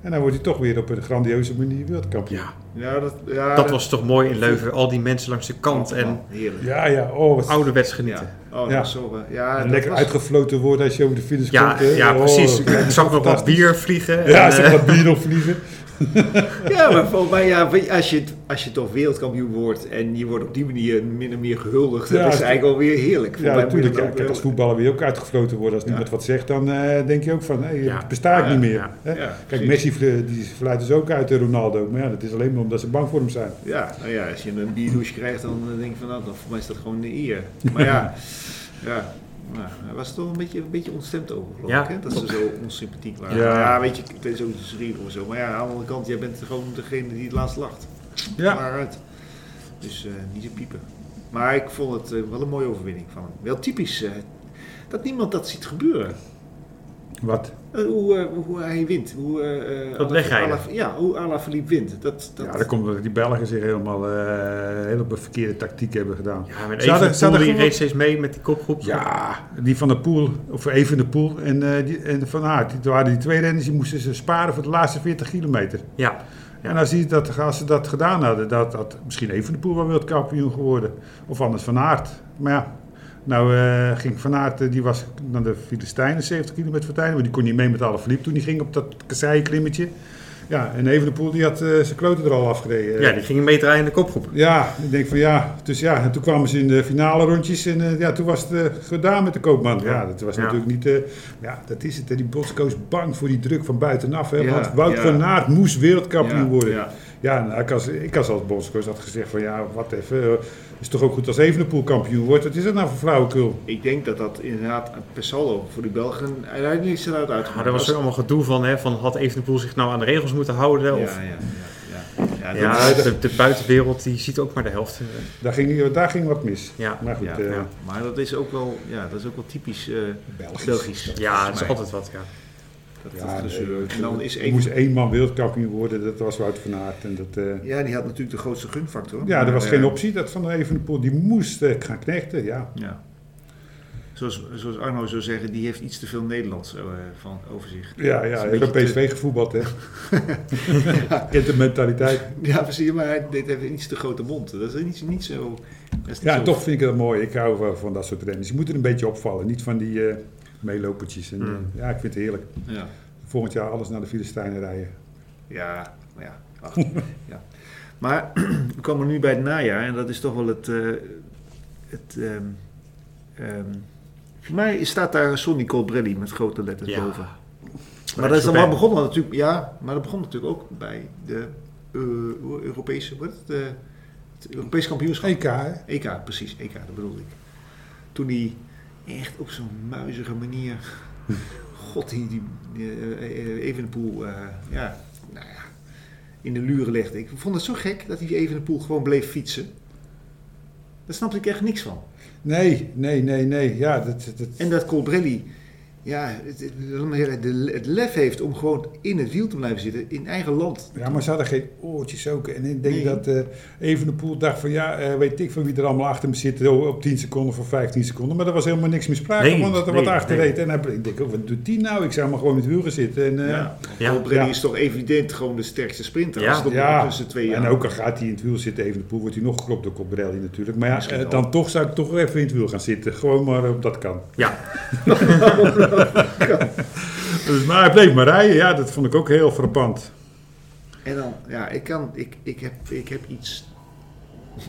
En dan wordt hij toch weer op een grandieuze manier wereldkampioen. Ja, Ja, dat, ja, dat was toch mooi in Leuven. Al die mensen langs de kant en Heerlijk. Ja, ja, oh, wat ouderwets Ja. genieten. Oh, Ja. ja. Zo, eh, ja, een dat lekker was- uitgefloten worden als je over de finish Ja, komt. ja, hè? Oh, precies. dat is Ik zag nog wat fantastisch. bier vliegen. en, Ja, eh, ze gaat bier nog vliegen. Ja, maar volgens mij, ja, weet je, als, je, als je toch wereldkampioen wordt en je wordt op die manier min of meer gehuldigd, Ja, dat is het- eigenlijk alweer heerlijk. Volgens Ja, mij moet je natuurlijk. dat Ja, ook kijk, als wel- voetballer wil je ook uitgefloten worden. Als niemand wat zegt, dan eh, denk je ook van, hé, Ja. het besta ik Ja, niet meer. ja, hè? ja, kijk, precies. Messi vle- die fluit dus ook uit, eh, Ronaldo. Maar ja, dat is alleen maar omdat ze bang voor hem zijn. Ja, nou ja, als je een bierdouche krijgt, dan eh, denk je van, nou, dan voor mij is dat gewoon een eer. Maar ja, ja. Nou, hij was er toch een beetje, een beetje ontstemd over, geloof Ja, ik, hè? dat ze zo onsympathiek waren. Ja. Ja. weet je, het is ook een schreeuw of zo. Maar ja, aan de andere kant, jij bent gewoon degene die het laatst lacht. Ja, Klaar uit. Dus eh, niet te piepen. Maar ik vond het eh, wel een mooie overwinning van hem. Wel typisch eh, dat niemand dat ziet gebeuren. wat? Eh, hoe, eh, hoe hij wint. Hoe, eh, eh, Dat Ala- wegrijden. Ala- Ja, hoe Alaphilippe wint. Dat, dat, Ja, dat komt omdat die Belgen zich helemaal eh hele verkeerde tactiek hebben gedaan. Ja, met Zou even dat- zou Poel, dat die gewoon- reed steeds mee met die kopgroep. Ja, die van der Poel, of even de Poel en, eh, die, en Van Aert. Die waren die twee renners, die moesten ze sparen voor de laatste 40 kilometer. Ja, Ja. En als, die dat, als ze dat gedaan hadden, dat had misschien Evenepoel wel wereldkampioen geworden. Of anders Van Aert. Maar ja, nou eh, ging Van Aert, eh, die was naar de Filistijnen, 70 kilometer van het einde. Maar die kon niet mee met alle verliep toen die ging op dat kasseienklimmetje. Ja, en Evenepoel die had eh, zijn kloten er al afgereden. ja die ging een meter in de kopgroep. Ja, ik denk van ja. Dus ja, en toen kwamen ze in de finale rondjes en eh, ja, toen was het eh, gedaan met de koopman. Ja, dat was Ja. natuurlijk niet... eh, ja, dat is het. Hè. Die bondscoach bang voor die druk van buitenaf. Hè, Ja, want Wout ja. van Aert moest wereldkampioen worden. Ja, Ja, nou, ik, als, ik als als bondscoach had gezegd van ja, wat even. eh, is toch ook goed als Evenepoel kampioen wordt? Wat is dat nou voor flauwekul? Ik denk dat dat inderdaad per saldo voor die Belgen uiteindelijk niks eruit Ja, uitgemaakt daar Ah, was er allemaal gedoe van, hè, van had Evenepoel zich nou aan de regels moeten houden? Ja, of, ja, ja. ja, ja. dat ja, is- de, de buitenwereld die ziet ook maar de helft. eh, Daar ging, daar ging wat mis. Ja, Maar goed, ja, eh, ja. Maar dat is ook wel, ja, dat is ook wel typisch eh, Belgisch. Belgisch. ja volgens het is mij. altijd wat. Ja. Dat, Ja, dat nee, gezeur. En dan is er één moest één man wereldkampioen worden, dat was Wout van Aert. En dat, eh, Ja, die had natuurlijk de grootste gunfactor. ja, er Maar, was eh, geen optie dat van Evenepoel. Die moest eh, gaan knechten, ja. Ja. Zoals, zoals Arno zou zeggen, die heeft iets te veel Nederlands eh, van, over zich. Ja, Dat is ja, een ik heb beetje PSV gevoetbald, hè. Kent de mentaliteit. Ja, precies, maar hij deed even iets te grote mond. Dat is niet, niet zo... dat is niet Ja, zo- en toch vind ik dat mooi. Ik hou wel van dat soort renners. Je moet er een beetje opvallen, niet van die eh, meelopertjes. En, eh, Hmm. Mm. ja, ik vind het heerlijk. Ja, Volgend jaar alles naar de Filistijnen rijden. ja, maar ja. ach, ja. Maar we komen nu bij het najaar en dat is toch wel het... eh, het ehm, ehm, voor mij staat daar Sonny Colbrelli met grote letters Ja. boven. Bij Maar dat is dan wel Chopin. begonnen wel natuurlijk, ja, maar dat begon natuurlijk ook bij de eh, Europese, wat is het, eh, het Europees kampioenschap. EK, hè? EK, E precies, EK, dat bedoelde ik. Toen die echt op zo'n muizige manier, god, die, die eh, eh, Evenepoel, eh, ja, nou ja, in de luren legde. Ik vond het zo gek dat hij Evenepoel gewoon bleef fietsen. Daar snapte ik echt niks van. Nee, nee, nee, nee. Ja, dat, dat, En dat Colbrelli ja, het, het- laat maar zeggen, de- het lef heeft om gewoon in het wiel te blijven zitten, in eigen land. ja maar ze hadden geen oortjes ook. En ik denk Nee. dat eh Evenepoel dacht van ja, eh, weet ik van wie er allemaal achter me zit oh, op 10 seconden of 15 seconden. Maar er was helemaal niks meer sprake Nee, van dat er nee, wat achter nee. reed. En hij, ik denk ook, wat doet die nou? Ik zou maar gewoon in het wiel gaan zitten. En, eh, ja. Ja. Colbrelli Ja. is toch evident gewoon de sterkste sprinter. Ja. Als het op Ja. tussen twee jaar. En ook al gaat hij in het wiel zitten, even de poel, wordt hij nog geklopt door Cobrelli natuurlijk. Maar ja, Misschien eh, wel. dan toch zou ik toch even in het wiel gaan zitten. Gewoon maar eh, op dat kan. Ja, Dus, maar hij bleef maar rijden. Ja, dat vond ik ook heel frappant. En dan, ja, ik kan, ik, ik heb, ik heb iets...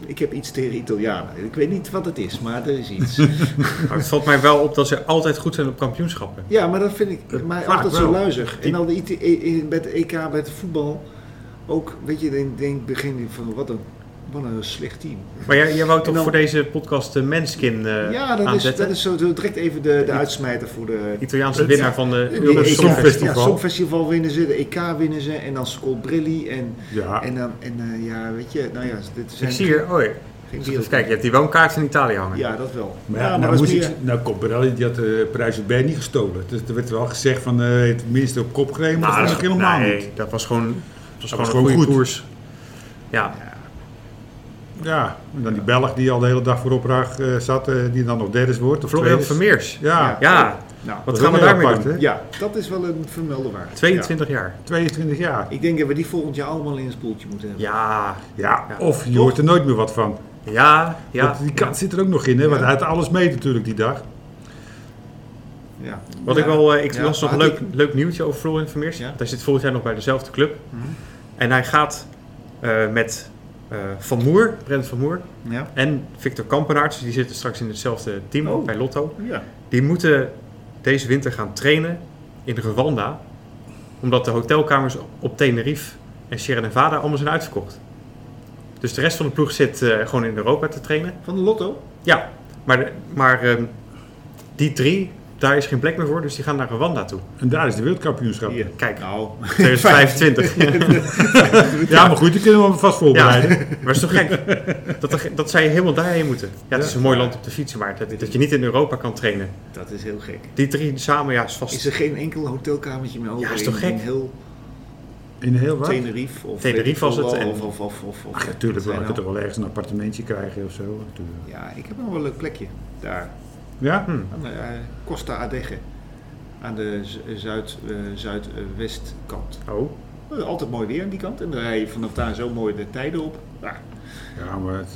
Ik heb iets tegen Italianen. Ik weet niet wat het is, maar er is iets. maar het valt mij wel op dat ze altijd goed zijn op kampioenschappen. Ja, maar dat vind ik maar vaak altijd zo wel. luizig. En dan de IT, e- e- met de EK, met het voetbal, ook, weet je, dan denk ik begin je van wat een, wat een slecht team. Maar jij, jij wou toch En dan- voor deze podcast de Manskin eh ja, dat is, aanzetten? dat is zo zo direct even de, de uitsmijter voor de... Italiaanse winnaar van de die Eurovisie EK Songfestival. Ja, Songfestival winnen ze, de EK winnen ze en dan Scolbrilli en, Ja, en dan, en eh, ja, weet je, nou ja, dit zijn Ik zie hier, oh, geen even wereld- kijken, je hebt die woonkaart in Italië hangen. Ja, dat wel. maar ja, maar nou, dat is moest meer- ik, nou Cobrelli die had de prijs op Bern niet gestolen. Dus er werd wel gezegd van eh het minste op kop gereden, maar Nou, dat vond dat, ik helemaal niet. nee, dat was gewoon, dat was Dat was gewoon een gewoon goede goed. koers. Ja, Ja, en dan die Belg die al de hele dag voorop raag, eh, zat, eh, die dan nog derde wordt. Of Florian tweede. Vermeers. Ja, Ja, nou, wat is gaan we ook heel daarmee apart, doen? hè? ja, dat is wel een vermelde waarde. 22 jaar. 22 jaar. Ja. Ik denk dat we die volgend jaar allemaal in een spoeltje moeten hebben. Ja, Ja, Ja. of je hoort er nooit meer wat van. ja, ja. Want die kans zit er ook nog in, hè? want Ja. hij had alles mee natuurlijk die dag. Ja. Wat Ja. ik wel, eh, ik Ja, las nog een maar leuk, die- leuk nieuwtje over Florian Vermeers. Ja. Hij zit volgend jaar nog bij dezelfde club. Mhm. En hij gaat eh, met eh, Van Moer, Brent Van Moer Ja. en Victor Kampenaerts. dus Die zitten straks in hetzelfde team Oh. bij Lotto. ja. Die moeten deze winter gaan trainen in Rwanda. Omdat de hotelkamers op Tenerife en Sierra Nevada allemaal zijn uitverkocht. Dus de rest van de ploeg zit eh, gewoon in Europa te trainen. Van de Lotto? Ja, maar, maar ehm, die drie, daar is geen plek meer voor. Dus die gaan naar Rwanda toe. En daar is de wereldkampioenschap. Hier. Kijk, Nou. 2025. Ja, maar goed, die kunnen we vast ja, voorbereiden. maar het is toch gek dat, er- dat zij helemaal daarheen moeten. Ja, het is een mooi land op de fiets, maar dat, dat je niet in Europa kan trainen. Dat is heel gek. Die drie samen, ja, is Is vast er geen enkel hotelkamertje meer over? Ja, is toch in- gek? In heel In heel wat? Tenerife of Tenerife weet ik was veel het wel, en- Of, of, of, of, of- Ach, natuurlijk wel. zijn Je kunt toch nou- wel ergens een appartementje krijgen of zo. Ja, ik heb nog wel een leuk plekje daar. Ja? Hm. Aan de, eh, Costa Adeje. Aan de z- zuid, eh, zuidwestkant. Oh, Eh, Altijd mooi weer aan die kant. En dan rij je vanaf daar zo mooi de tijden op. Ah, Ja, Ja, maar het-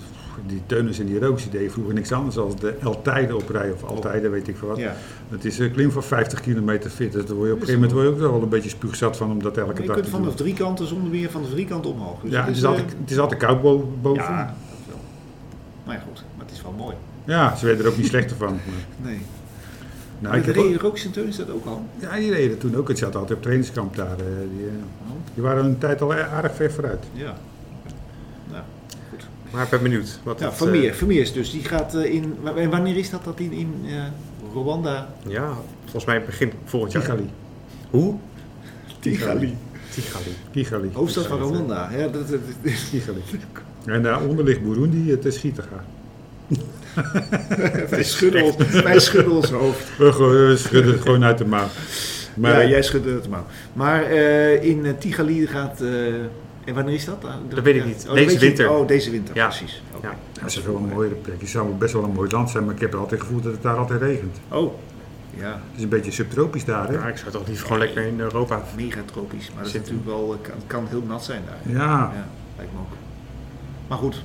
die Teunus en die Rooks die deden vroeger niks anders dan de Eltijden oprijden. Of Altijden, weet ik veel wat. ja. Het is een klim van 50 kilometer fit. Dus daar word je op een gegeven moment word je ook wel een beetje spuugzat van om dat elke Je dag kunt te doen. vanaf drie kanten zonder meer van de drie kanten omhoog. Dus Ja, dat het is, eh, altijd, het is altijd koud bo- boven. Ja, Ja. dat wel. Maar ja, goed, maar het is wel mooi. ze werden er ook niet slechter van. Maar- Nee. Nou, Maar ik de heb ook- Reden Rookcenteur is dat ook al. Ja, die reden toen ook. Het zat altijd op trainingskamp daar. eh, Die, eh, die waren een tijd al aardig ver vooruit. Ja. maar ik ben benieuwd. Wat ja eh, het, Vermeer, Vermeers dus. Die gaat eh, in. wa- En wanneer is dat? Dat in, in eh, Rwanda? eh, ja, volgens mij begin volgend jaar. Kigali. Hoe? Kigali. Tigali. Kigali. Hoofdstad van Rwanda. Ja, dat, dat, dat- Kigali. En daaronder ligt Burundi. Het is Gitaga. wij, schudden ons, wij schudden ons hoofd. We ge- we schudden het gewoon uit de maan. Maar eh, ja, jij schudde het maar. Maar eh, in eh, Tigali gaat. eh, en wanneer is dat? Ah, Dat weet ik niet. dat Deze weet je- winter. oh, deze winter, Ja. precies. Oké. Ja. ja, het is wel een mooie plek. Het zou best wel een mooi land zijn, maar ik heb altijd het gevoel dat het daar altijd regent. Oh, ja. Het is een beetje subtropisch daar, hè? Ja, ik zou toch liever gewoon lekker in Europa. Megatropisch, maar dat is Zit- natuurlijk wel, eh, kan, kan heel nat zijn daar. Ja. Ja, lijkt me ook. Maar goed.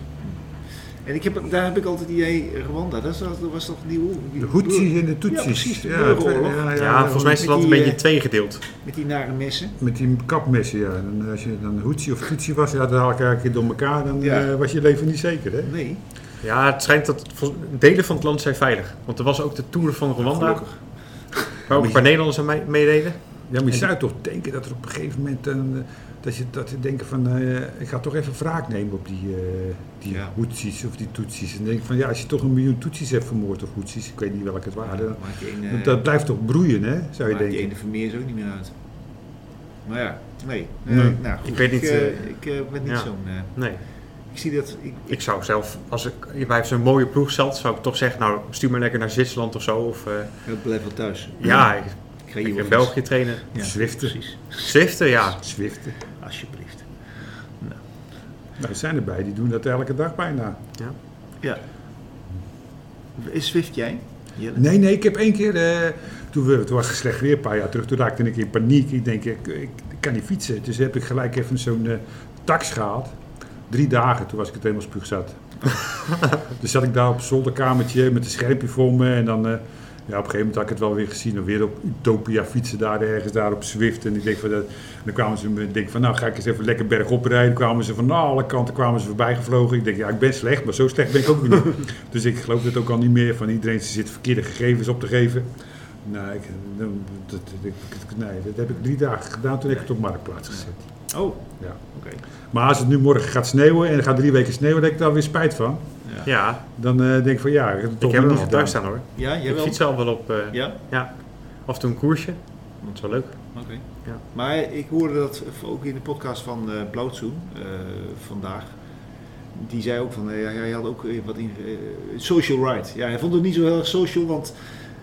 En ik heb, daar heb ik altijd het idee, Rwanda, dat was, dat was toch die, oorlog- die De Houthis en de Tutsis. Ja, precies, de het- burgeroorlog. ja, Ja, ja, volgens mij is het met land een die, beetje eh, tweegedeeld. met die nare messen. Met die kapmessen, ja. En als je dan Hoetsie of Tutsi was, ja, dan haal ik elke keer door elkaar, dan Ja. eh, was je leven niet zeker, hè? Nee, Ja, het schijnt dat vol- delen van het land zijn veilig. Want er was ook de Tour van Rwanda, gelukkig. waar ook een paar Nederlanders aan mee- meededen. Ja, maar je zou toch denken dat er op een gegeven moment, een, eh, dat je dat je denken van, eh, ik ga toch even wraak nemen op die, eh die Ja. Hoetsies of die Tutsis. En dan denk ik van, ja, als je toch een miljoen Tutsis hebt vermoord of Hoetsies, ik weet niet welke het waren, dan- maakt die ene, want dat blijft toch broeien, hè, zou je maakt die denken. ene Vermeers ook niet meer uit. Maar ja, nee. Eh, Nee. nou, goed, Ik weet niet, eh, eh, ik eh, ben niet ja. zo'n... eh, Nee. ik ik zie dat. Ik, Ik zou zelf, als ik bij zo'n mooie ploeg zat, zou ik toch zeggen, nou stuur me lekker naar Zwitserland of zo. Of, eh, ik blijf wel thuis. ja, ik, Ik ga ik hier in België trainen. Ja, Zwiften. Precies. Zwiften, ja. Zwiften. Alsjeblieft. Nou, er zijn erbij, die doen dat elke dag bijna. Is Zwift jij? Jelle? Nee, nee, ik heb één keer, eh, toen we, het was slecht weer een paar jaar terug, toen raakte ik in paniek. Ik denk, ik, ik, ik kan niet fietsen. Dus heb ik gelijk even zo'n eh, tax gehad. Drie dagen, toen was ik het helemaal spuug zat. dus zat ik daar op een zolderkamertje met een schermpje voor me. En dan, eh, ja, op een gegeven moment had ik het wel weer gezien. Dan weer op Utopia fietsen daar ergens, daar op Zwift. En ik denk van, dat, en dan kwamen ze me, ik denk van, nou ga ik eens even lekker bergop rijden. Dan kwamen ze van nou, alle kanten kwamen ze voorbij gevlogen. Ik denk, ja, ik ben slecht, maar zo slecht ben ik ook weer niet. Dus ik geloof het ook al niet meer van iedereen zit verkeerde gegevens op te geven. Nou, ik, dat, dat, ik- nee, dat heb ik drie dagen gedaan toen heb ik het op marktplaats gezet. Oh, Ja. oké. Maar als het nu morgen gaat sneeuwen en er gaat drie weken sneeuwen, daar heb ik daar weer spijt van. Ja. Ja. Ja, Dan eh, denk ik van ja, ik heb het toch ik heb niet hem nog gedaan. thuis staan hoor. jij Ik wel? fiets zelf wel op, eh, Ja, ja, af en toe een koersje. Dat is wel leuk. oké. Ja. Maar ik hoorde dat ook in de podcast van eh Blauwtsoen eh, vandaag. Die zei ook van, eh, hij had ook eh, wat in, eh, social ride. Ja, hij vond het niet zo heel erg social, want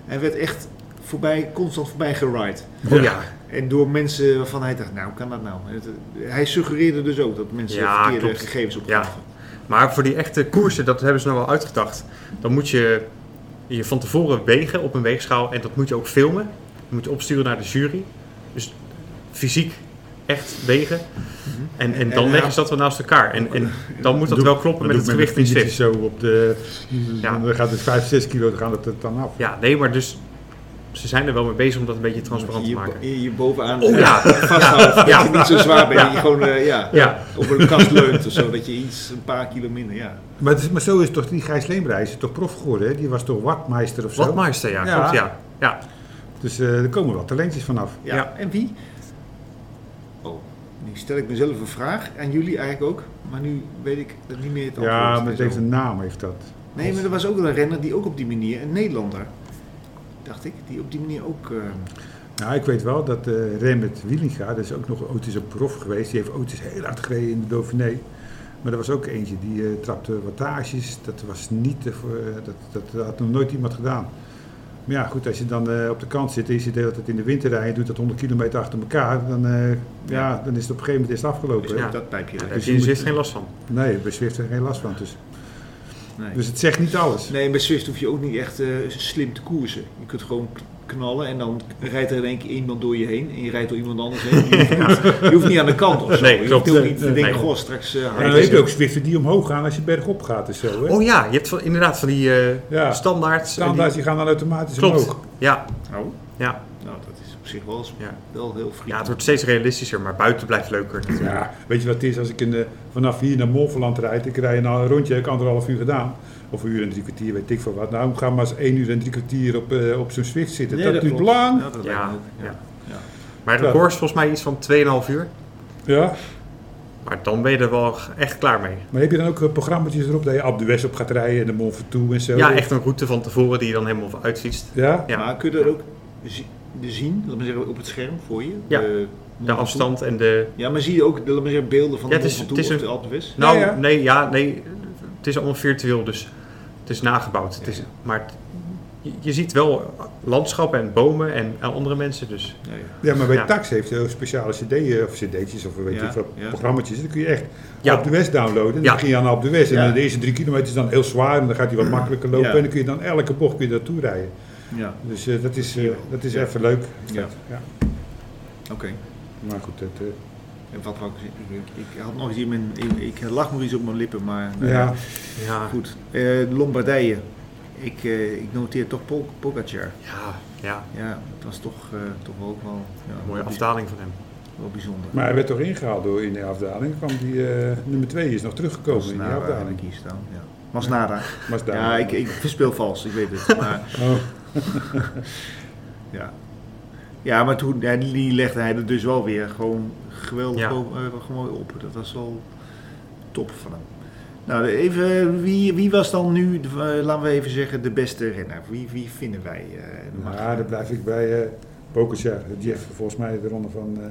hij werd echt voorbij, constant voorbij geride. Ja. Oh ja, En door mensen waarvan hij dacht, nou, hoe kan dat nou? Het- hij suggereerde dus ook dat mensen Ja, verkeerde klopt. gegevens opgaven. maar voor die echte koersen, dat hebben ze nou wel uitgedacht. Dan moet je je van tevoren wegen op een weegschaal en dat moet je ook filmen. Dat moet je opsturen naar de jury. Dus fysiek echt wegen. En, en dan En, leggen ze dat wel naast elkaar. En, en dan moet dat Mhm. Doe- wel kloppen Dan met doe het ik mijn gewicht in vingertjes Zwift. zo op de, Mm, Ja. dan gaat het 5, 6 kilo, dan gaat het er dan af. Ja, nee, maar dus ze zijn er wel mee bezig om dat een beetje transparant te je, maken. Je, je bovenaan Oh, eh, ja. vasthouden, dat Ja. je niet zo zwaar bent. Ja. Dat je gewoon eh, ja, Ja, op een kast leunt of zo, dat je iets, een paar kilo minder, ja. Maar, het is- maar zo is toch die Gijs Leemrij, is toch prof geworden? Hè? Die was toch wachtmeister of zo? wat Meister, ja, Ja. klopt, ja. ja. Dus eh, er komen wel talentjes vanaf. Ja, Ja. en wie? Oh, nu stel ik mezelf een vraag aan jullie eigenlijk ook, maar nu weet ik dat niet meer het antwoord. Ja, maar het Zo. heeft een naam, heeft dat. Nee, maar er was ook wel een renner die ook op die manier, een Nederlander, dacht ik, die op die manier ook... eh, Nou, ik weet wel dat eh Remmert Wielinga, dat is ook nog ooit eens een prof geweest. Die heeft ooit eens heel hard gereden in de Dauphiné. Maar er was ook eentje die eh, trapte wattages. Dat was niet, te voor- eh, dat, dat, dat had nog nooit iemand gedaan. Maar ja, goed, als je dan eh, op de kant zit en je zit de hele tijd in de winter rijden, je doet dat 100 kilometer achter elkaar, dan, eh, ja, dan is het op een gegeven moment is het dus afgelopen. hè. ook dat pijpje. Daar eruit. heb je in Zwift geen last van. Nee, bij Zwift er geen last van. Dus, Nee. dus het zegt niet alles. Nee, bij Swift hoef je ook niet echt eh, slim te koersen. Je kunt gewoon k- knallen en dan rijdt er in één keer iemand door je heen en je rijdt door iemand anders heen. Je hoeft niet, je hoeft niet aan de kant of zo. Nee, je klopt. hoeft ook Nee, niet te nee, denken, nee. goh, straks eh, En hard dan is heb je het. ook Zwiften die omhoog gaan als je bergop gaat en zo. Hè? Oh ja, je hebt van, inderdaad van die eh, Ja. standaards. eh, die- Standaard, die gaan dan automatisch Klopt, omhoog. ja, Oh, ja. nou, dat is op zich wel, eens- Ja. wel heel vriendelijk. ja, het wordt steeds realistischer, maar buiten blijft leuker. natuurlijk. Ja, weet je wat het is als ik in de- vanaf hier naar Monverland rijd? Ik rijd nou een rondje, heb ik anderhalf uur gedaan. Of een uur en drie kwartier, weet ik veel wat. Nou, ga maar eens één uur en drie kwartier op, eh, op zo'n Zwift zitten. Nee, dat duurt klopt. lang. Ja, dat lijkt Ja, me ook. ja. Ja. Maar de Ja. koers is volgens mij iets van 2,5 uur. Ja, Maar dan ben je er wel echt klaar mee. maar heb je dan ook eh, programma's erop dat je op de West op gaat rijden en de Mont Ventoux en zo? Ja, echt een route van tevoren die je dan helemaal uitfietst. Ja? Ja. Maar kun je dat ook zi- de zien, laat maar zeggen, op het scherm voor je? Ja, De, De afstand en de... Ja, maar zie je ook, laat maar zeggen, beelden van Ja, de het is- Mont Ventoux het is of een- de Alpe d'Huez? Nou, Ja, ja. nee, ja, nee. Het is allemaal virtueel, dus het is nagebouwd. Het is, Ja. maar het- je, je ziet wel landschappen en bomen en, en andere mensen, dus... Ja, ja. Ja, maar bij Ja. Tax heeft heel speciale cd's of cd'tjes of weet Ja, ik veel, ja. programma's. Dan kun je echt Ja. op de West downloaden. Dan Ja. begin je aan op de West. En Ja. dan de eerste drie kilometer is dan heel zwaar en dan gaat hij wat makkelijker lopen. Ja. En dan kun je dan elke bocht kun je naartoe rijden. ja. Dus eh, dat is, eh, dat is even leuk. Ja. Ja. oké. Maar goed, het, eh, En wat wou ik zeggen? Ik, ik had nog iets in mijn. Ik, ik lag nog iets op mijn lippen, maar. eh, ja. Ja, Goed. Eh, Lombardije. Ik, eh, ik noteer toch Pol Pogacar. ja, ja. Ja, dat was toch, eh, toch wel ook wel. Ja, Een mooie wel bij- afdaling van hem. Wel bijzonder. Maar hij werd toch ingehaald door in de afdaling. Kwam die, eh, nummer 2 is nog teruggekomen in die Masnada heb afdaling. ik hier staan. Ja. Masnada. Masdaan. nou, eh, Ja, ik, ik verspeel vals, ik weet het. Maar Oh, ja. Ja, maar toen ja, die- die legde hij er dus wel weer gewoon geweldig Ja. o- eh, gewoon op. Dat was wel top van hem. Nou, even, wie, wie was dan nu, de- eh, laten we even zeggen, de beste renner? Wie, wie vinden wij? eh, de macht? maar Nou, daar blijf ik bij eh Pokerjaar. Die heeft volgens mij de ronde van eh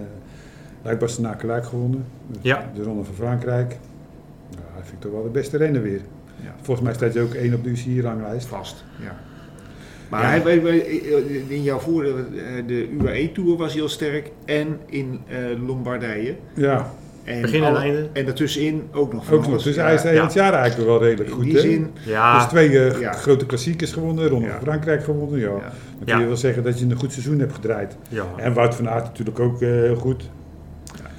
luik bastenaken luik gewonnen. Ja. De ronde van Frankrijk. Ja, vind ik toch wel de beste renner weer. Ja. Volgens mij staat hij ook één op de UCI-ranglijst. Vast, ja. Ja. Maar hij- hij- hij- in jouw voordeel, eh, de UAE-tour was heel sterk en in eh, Lombardije. Ja, En Begin en alle- einde. En daartussenin ook nog van ook nog. alles. Dus Ja, hij is ja. het jaar eigenlijk wel redelijk in goed. die hè? zin, Ah, dus Ja, twee eh, Ja. grote klassiekers gewonnen, Ronde Ja. van Frankrijk gewonnen. Ja. ja. Dan kun Ja. je wel zeggen dat je een goed seizoen hebt gedraaid. ja. En Wout van Aert natuurlijk ook eh, heel goed.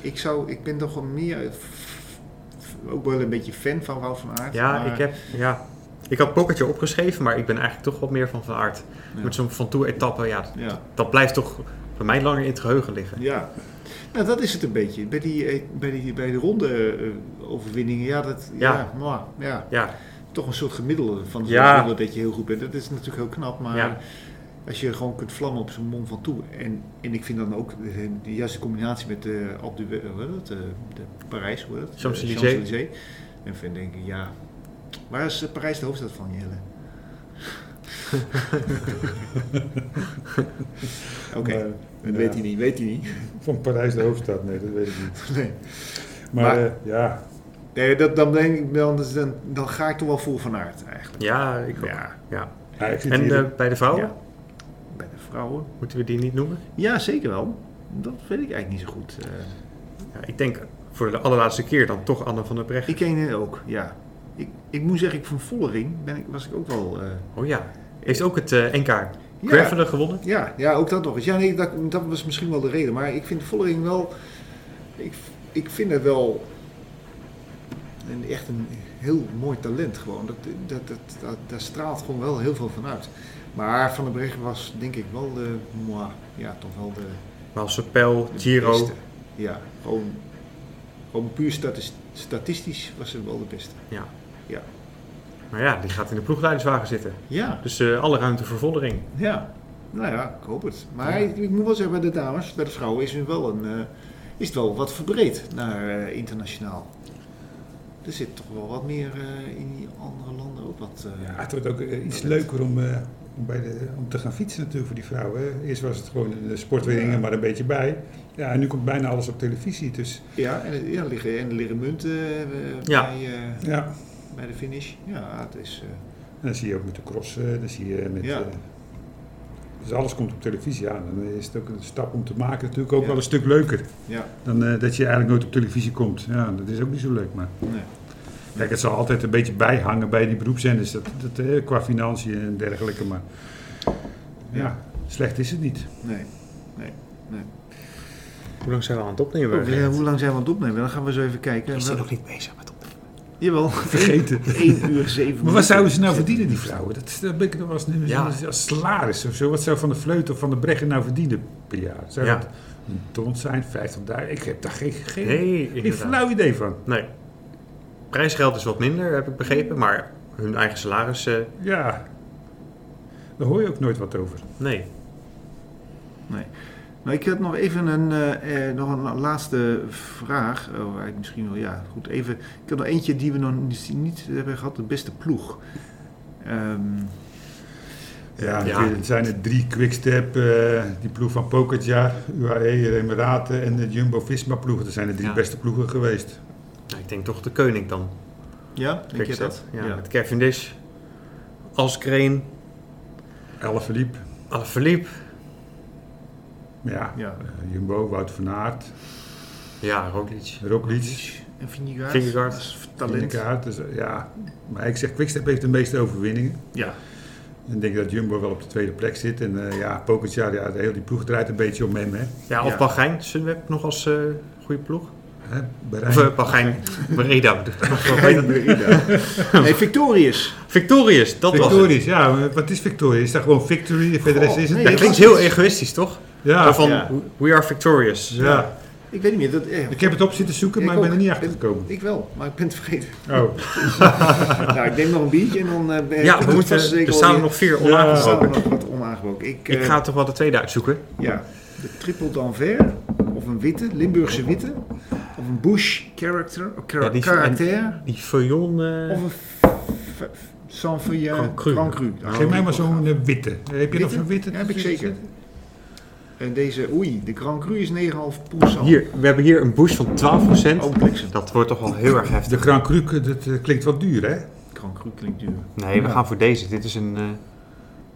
Ik, zou, ik ben toch wel meer, eh, f- f- ook wel een beetje fan van Wout van Aert. Ja, maar- ik heb... Ja. Ik had Pocketje opgeschreven, maar ik ben eigenlijk toch wat meer van Van Aert. Ja. Met zo'n Van Tour-etappe, ja, Ja, dat blijft toch voor mij langer in het geheugen liggen. ja. Nou, dat is het een beetje. Bij, die, eh, bij, die, bij de ronde eh, overwinningen, ja, dat, ja. Ja. maar, ja, Ja, toch een soort gemiddelde van het Ja. gemiddelde dat je heel goed bent. Dat is natuurlijk heel knap, maar Ja. als je gewoon kunt vlammen op zo'n mond van toe. En, en ik vind dan ook eh, de juiste combinatie met de Alpe du- eh, hoe heet dat, eh, de Parijs, hoe heet dat? Champs-Élysées. Eh, Champs-Élysées. En vind denk ik, ja, waar is eh, Parijs de hoofdstad van, Jelle? Oké, Maar, dat ja, weet hij niet, weet hij niet. Van Parijs de hoofdstad, nee, dat weet ik niet. nee. Maar, Maar- eh, ja, Nee, dat, dan, denk ik, dan, dan, dan ga ik toch wel voor van aard eigenlijk. ja ik ook. Ja, Ja. Ja, ik zit En hier- eh, bij de vrouwen, Ja. bij de vrouwen. moeten we die niet noemen? Ja, zeker wel. Dat weet ik eigenlijk niet zo goed. Eh, Ja, ik denk voor de allerlaatste keer dan toch Anne van der Brecht. ik ken het ook, ja. Ik, ik moet zeggen, ik van Vollering ben ik, was ik ook wel... eh, Oh ja, heeft ook het eh, NK ja, Gravelen gewonnen. ja, ja, ook dat nog eens. Ja, nee, dat, dat was misschien wel de reden. Maar ik vind Vollering wel... Ik, ik vind het wel een, echt een heel mooi talent gewoon. Dat, dat, dat, dat, daar straalt gewoon wel heel veel van uit. Maar Van der Breggen was denk ik wel de... moi, ja, toch wel de... Maar als Sepel, De Giro. beste. Ja, gewoon, gewoon puur statis- statistisch was ze wel de beste. Ja. Ja. Maar ja, die gaat in de ploegleiderswagen zitten. Ja, Dus eh, alle ruimte voor vordering. ja. Nou ja, ik hoop het. Maar Ja. ik, ik moet wel zeggen, bij de dames, bij de vrouwen is het wel, een, eh, is het wel wat verbreed naar eh, internationaal. Er zit toch wel wat meer eh, in die andere landen ook wat. eh, Ja, het wordt ook eh, iets leuker om, eh, om, bij de, om te gaan fietsen natuurlijk voor die vrouwen. hè. Eerst was het gewoon een sportweringen, maar een beetje bij. Ja, en nu komt bijna alles op televisie. Dus ja, en, er- ja, er liggen, en er liggen munten eh, Ja. bij, eh, ja, bij de finish. Ja, het is. eh, en dan zie je ook met de cross, eh, dan zie je met... Ja. eh, dus alles komt op televisie aan. En dan is het ook een stap om te maken natuurlijk ook Ja. wel een stuk leuker. ja, Dan eh, dat je eigenlijk nooit op televisie komt. Ja, dat is ook niet zo leuk, maar... nee. Kijk, het zal altijd een beetje bijhangen bij die beroepszenders. Dat, dat, eh, qua financiën en dergelijke, maar... Ja, slecht is het niet. nee. Hoe lang zijn we aan het opnemen? Oh, ja, hoe lang zijn we aan het opnemen? Dan gaan we zo even kijken. is hij Wel- nog niet bezig met opnemen? Jawel. Vergeten. 1 uur 7 Maar wat zouden ze nou verdienen, die vrouwen? Dat, is- dat ben ik nog wel eens nu Ja. als salaris of zo. Wat zou Van de Vleut of Van de Breggen nou verdienen per jaar? Zou Ja. dat een ton zijn, 50.000? Ik heb daar geen, geen, Nee, geen inderdaad. flauw idee van. Nee. Prijsgeld is wat minder, heb ik begrepen. Maar hun eigen salaris, eh, Ja, daar hoor je ook nooit wat over. nee. Nou, ik had nog even een, eh, eh, nog een laatste vraag. Oh, eigenlijk misschien wel, ja, goed. Even, ik had nog eentje die we nog niet, niet hebben gehad. De beste ploeg. Ehm, Ja, Ja. natuurlijk, Het zijn er drie Quickstep, eh die ploeg van Pogacar, UAE, Emiraten E, en de Jumbo-Visma-ploeg. Dat zijn de drie Ja. beste ploegen geweest. Nou, ik denk toch de koning dan. ja, denk je Quickstep. dat? Ja, Met Cavendish, Als Kreen, Elf verliep. Alaphilippe. Ja, Ja. eh, Jumbo, Wout van Aert, Ja, Roglic. Roglic. En Vingegaard. Vingegaard. Dat is Talent. Kaart, dus, eh, ja. Maar ik zeg, Quickstep heeft de meeste overwinningen. Ja. En ik denk dat Jumbo wel op de tweede plek zit. En eh, ja, Pogacar, ja, de hele die ploeg draait een beetje om hem. Hè. Ja, of Ja. Bahrein, Sunweb nog als eh goede ploeg. Hè, Of Bahrein. eh, Bahrein, Merida. Nee, Victorious. Victorious, dat was het. Victorious, ja. maar Wat is Victorious? Is dat gewoon Victory? En Verder Goh, is nee, het Dat niks. klinkt heel egoïstisch, toch? ja, Van, Ja. we are victorious. ja. Ik weet niet meer. Dat, eh, Ik heb het op zitten zoeken, Ik maar ik ben ook. er niet achter gekomen. ik wel, maar ik ben het vergeten. Oh, nou, ik neem nog een biertje en dan eh, ben Ja, we dat moeten, was zeker er wel staan weer- er nog vier Er onaangesproken. staat nog wat onaangebroken. Ik, Ik eh, ga toch wel de tweede uitzoeken. Ja, de triple d'Anvers, of een witte, Limburgse witte, of een Bush character, of kara- Ja, die- karakter, Die Feuillon... eh, of een f- f- Sanfeuille Grand Cru. Grand Cru. Nou, geef mij maar zo'n eh, witte. Heb je nog Witte? zo'n witte? Ja, heb ik zeker. En deze, oei, de Grand Cru is 9,5 poes. al. Hier, we hebben hier een boost van 12%. Oh, bliksem. Dat wordt toch wel heel erg heftig. De Grand Cru, eh, dat eh, klinkt wat duur, hè? Grand Cru klinkt duur. Nee, we Ja. gaan voor deze. Dit is een eh,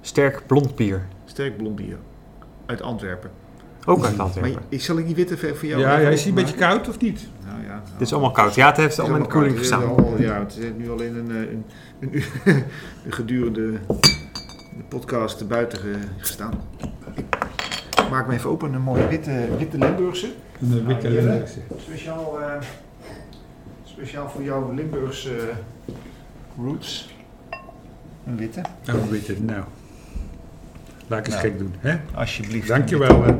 sterk blond bier. Sterk blond bier. Uit Antwerpen. Ook uit Maar Antwerpen. ik zal ik die witte ver voor Ja, jou ja, even is die een beetje openmaken? koud of niet? Nou, ja, nou. Dit is allemaal koud. Ja, het heeft Het is allemaal in de koeling koud. gestaan. Het is al- ja, het is nu al in een, eh, een, een uur een gedurende de podcast buiten ge- gestaan. Ik maak me even open, een mooie witte, witte Limburgse. Een eh, witte Ah, ja. Limburgse. Speciaal, eh, speciaal voor jouw Limburgse eh, roots. Een witte. Oh, een witte, nou. Laat ik eens Nou. gek doen, hè? Alsjeblieft. Dankjewel, hè.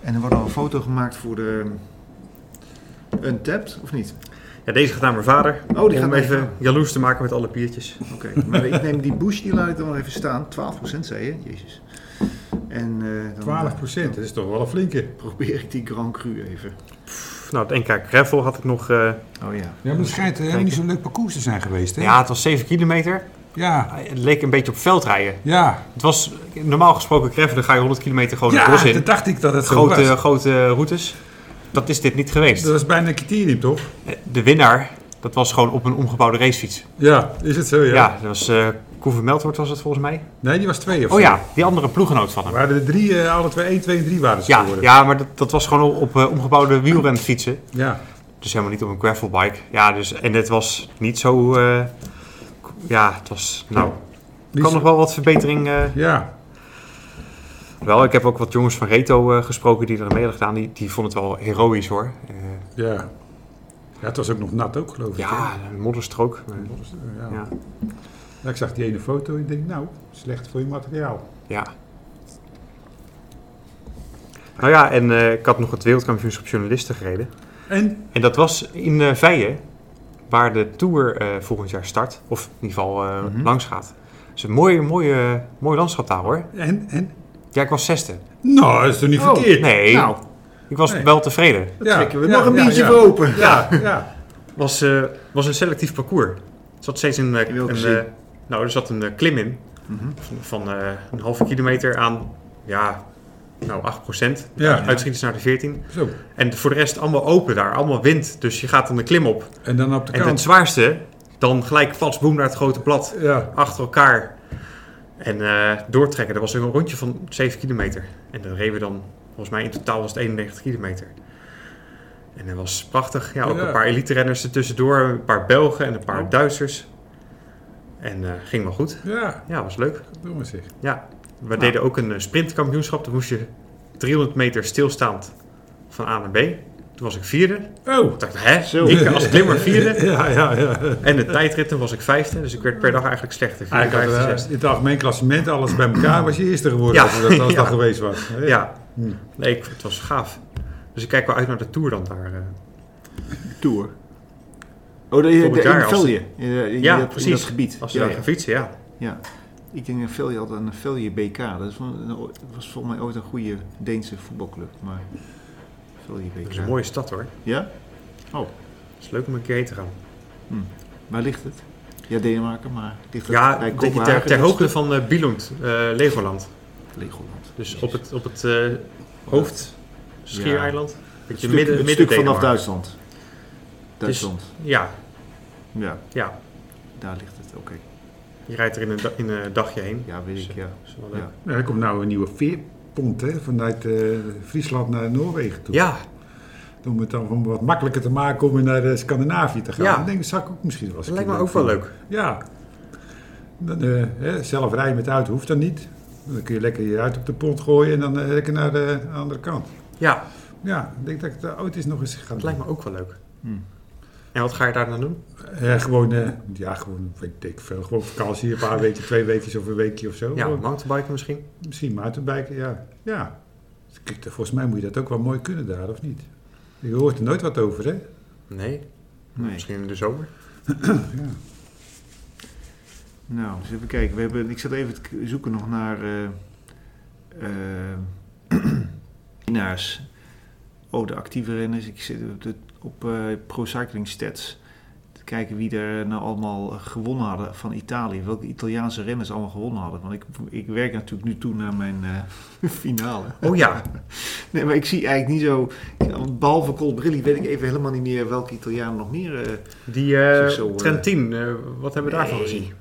En er wordt al een foto gemaakt voor de eh, Untapped, of niet? Ja, deze gaat naar mijn vader. Oh, die om gaat hem even even. jaloers te maken met alle biertjes. Oké, maar ik neem die bush, die laat ik dan wel even staan. 12% zei je, jezus. En eh, dan 12 procent, dat is toch wel een flinke. eh, probeer ik die Grand Cru even. Nou, het NK Gravel had ik nog. eh, Oh ja. Ja, maar het schijnt helemaal niet niet zo'n leuk parcours te zijn geweest, hè? Ja, het was 7 kilometer. Ja. Het leek een beetje op veldrijden. Ja, Het was normaal gesproken Kreffen, dan ga je 100 kilometer gewoon het bos in. dat dacht ik dat het zo Grote, was. grote eh, routes. Dat is dit niet geweest. Eh, Dat was bijna een criterium, toch? De winnaar, dat was gewoon op een omgebouwde racefiets. Ja, is het zo, ja. Ja, dat was eh Koeven Melthoort was het volgens mij. Nee, die was twee of Oh zo. ja, die andere ploeggenoot van hem. Waren er drie, eh, alle twee, 1, 2 en 3 waren ze Ja, geworden. ja maar dat, dat was gewoon op eh, omgebouwde wielrenfietsen. ja. Dus helemaal niet op een gravelbike. Ja, dus, en het was niet zo... eh, k- ja, het was... Nou, Die kan is- nog wel wat verbetering. eh, Ja, wel, ik heb ook wat jongens van Reto eh, gesproken die er aan mee hadden gedaan. Die, die vonden het wel heroïs hoor. Eh, ja. Ja, het was ook nog nat ook, geloof ik. ja, een modderstrook. Eh, hè? Dus, eh, ja. ja. Ja, Ik zag die ene foto en ik denk, nou, slecht voor je materiaal. ja. Nou ja, en eh, ik had nog het wereldkampioenschap journalisten gereden. En? En dat was in eh Veien, waar de Tour eh, volgend jaar start. Of in ieder geval eh, Mhm. langs gaat. Dus een mooie, mooie, mooi landschap daar hoor. En? En? Ja, ik was zesde. Nou, dat is toch niet Oh. verkeerd? Nee, Nou, ik was Nee. wel tevreden. Ja, trekken we ja, nog een ja, biertje ja. voor open. Ja, ja. was, eh, was een selectief parcours. Er zat steeds een, eh, In welke een, zin? eh, nou, er zat een eh, klim in Mhm. van, van, eh, een halve kilometer aan ja, nou, 8 procent. Ja. Uitschieters naar de 14. Zo. En voor de rest allemaal open daar, allemaal wind. Dus je gaat dan de klim op. En dan op de En het kant. zwaarste, dan gelijk vast boem naar het grote plat. Ja. Achter elkaar. En eh, doortrekken. Dat was een rondje van 7 kilometer. En dan reden we dan, volgens mij in totaal was het 91 kilometer. En dat was prachtig. Ja, ook Ja. een paar elite renners ertussendoor. Een paar Belgen en een paar Oh. Duitsers. En eh, ging wel goed. Ja, Ja, was leuk. doe maar zeg. Ja. We deden ook een eh, sprintkampioenschap. Dan moest je 300 meter stilstaand van A naar B. Toen was ik vierde. Oh. Ik dacht, hè? Zo. Ik als klimmer vierde. Ja, ja, ja. En de tijdritten was ik vijfde. Dus ik werd per dag eigenlijk slechter. Vierde, Eigenlijk vijfde, had, eh, zesde. in het algemeen klassement, alles bij elkaar, was je eerste geworden Ja. als, dat, als Ja. dat geweest was. hè? Ja. Hm. Hmm. Nee, ik, het was gaaf. Dus ik kijk wel uit naar de Tour dan daar. eh. Tour. Oh, de, de, Volgend jaar in als- Velje. In, eh, in Ja, dat, in precies. dat gebied. Als ze ja, daar ja. gaan fietsen, ja. ja. Ik denk dat Velje had een Velje BK. Dat is wel- dat was volgens mij ooit een goede Deense voetbalclub. Maar Velje BK. Dat is een mooie stad hoor. Ja? Het is leuk om een keer heen te gaan. Waar ligt het? Ja, Denemarken, maar ligt het Ja, bij een beetje ter, Kopenhagen? ter Dat is hoogte van eh Billund, eh, Legoland. toch Legoland. Dus op het, op het eh hoofd, Schiereiland. Het Beetje stuk, midden, het midden stuk vanaf Denemarken. Duitsland. Duitsland. Ja, Ja, ja, daar ligt het. Oké. je rijdt er in een, da- in een dagje heen. Ja, weet ik. Ja. Dat is wel leuk. Ja. Nou, er komt nou een nieuwe veerpont hè, vanuit eh, Friesland naar Noorwegen toe. Ja, Om het dan om wat makkelijker te maken om weer naar eh, Scandinavië te gaan. Ja. Ik denk, dat zou ik ook misschien wel eens dat een lijkt me keer ook wel vinden. leuk. Ja. Dan, eh, hè, zelf rijden met de auto hoeft dan niet. Dan kun je lekker je uit op de pont gooien en dan eh, lekker naar de andere kant. Ja, Ja, ik denk dat ik het ooit eens nog eens ga dat doen. lijkt me ook wel leuk. Hmm. En wat ga je daar dan doen? Eh, gewoon, eh, ja, gewoon, weet ik veel. Gewoon vakantie, een paar weken, twee weekjes of een weekje of zo. Ja, Gewoon, mountainbiken misschien? misschien mountainbiken, ja. Ja. Kijk, daar- volgens mij moet je dat ook wel mooi kunnen daar, of niet? Je hoort er nooit wat over, hè? Nee, Nee. misschien in de zomer. Nou, eens even kijken. We hebben, ik zat even te k- zoeken nog naar eh, eh, winnaars. oh, de actieve renners. Ik zit op, de, op eh, Pro Cycling Stats. kijken wie er nou allemaal gewonnen hadden van Italië. Welke Italiaanse renners allemaal gewonnen hadden. Want ik, ik werk natuurlijk nu toe naar mijn eh, finale. Oh ja, Nee, maar ik zie eigenlijk niet zo... Behalve Colbrilli weet ik even helemaal niet meer welke Italianen nog meer... eh, die eh, Zie zo, eh, Trentin, eh, wat hebben we daarvan nee. gezien?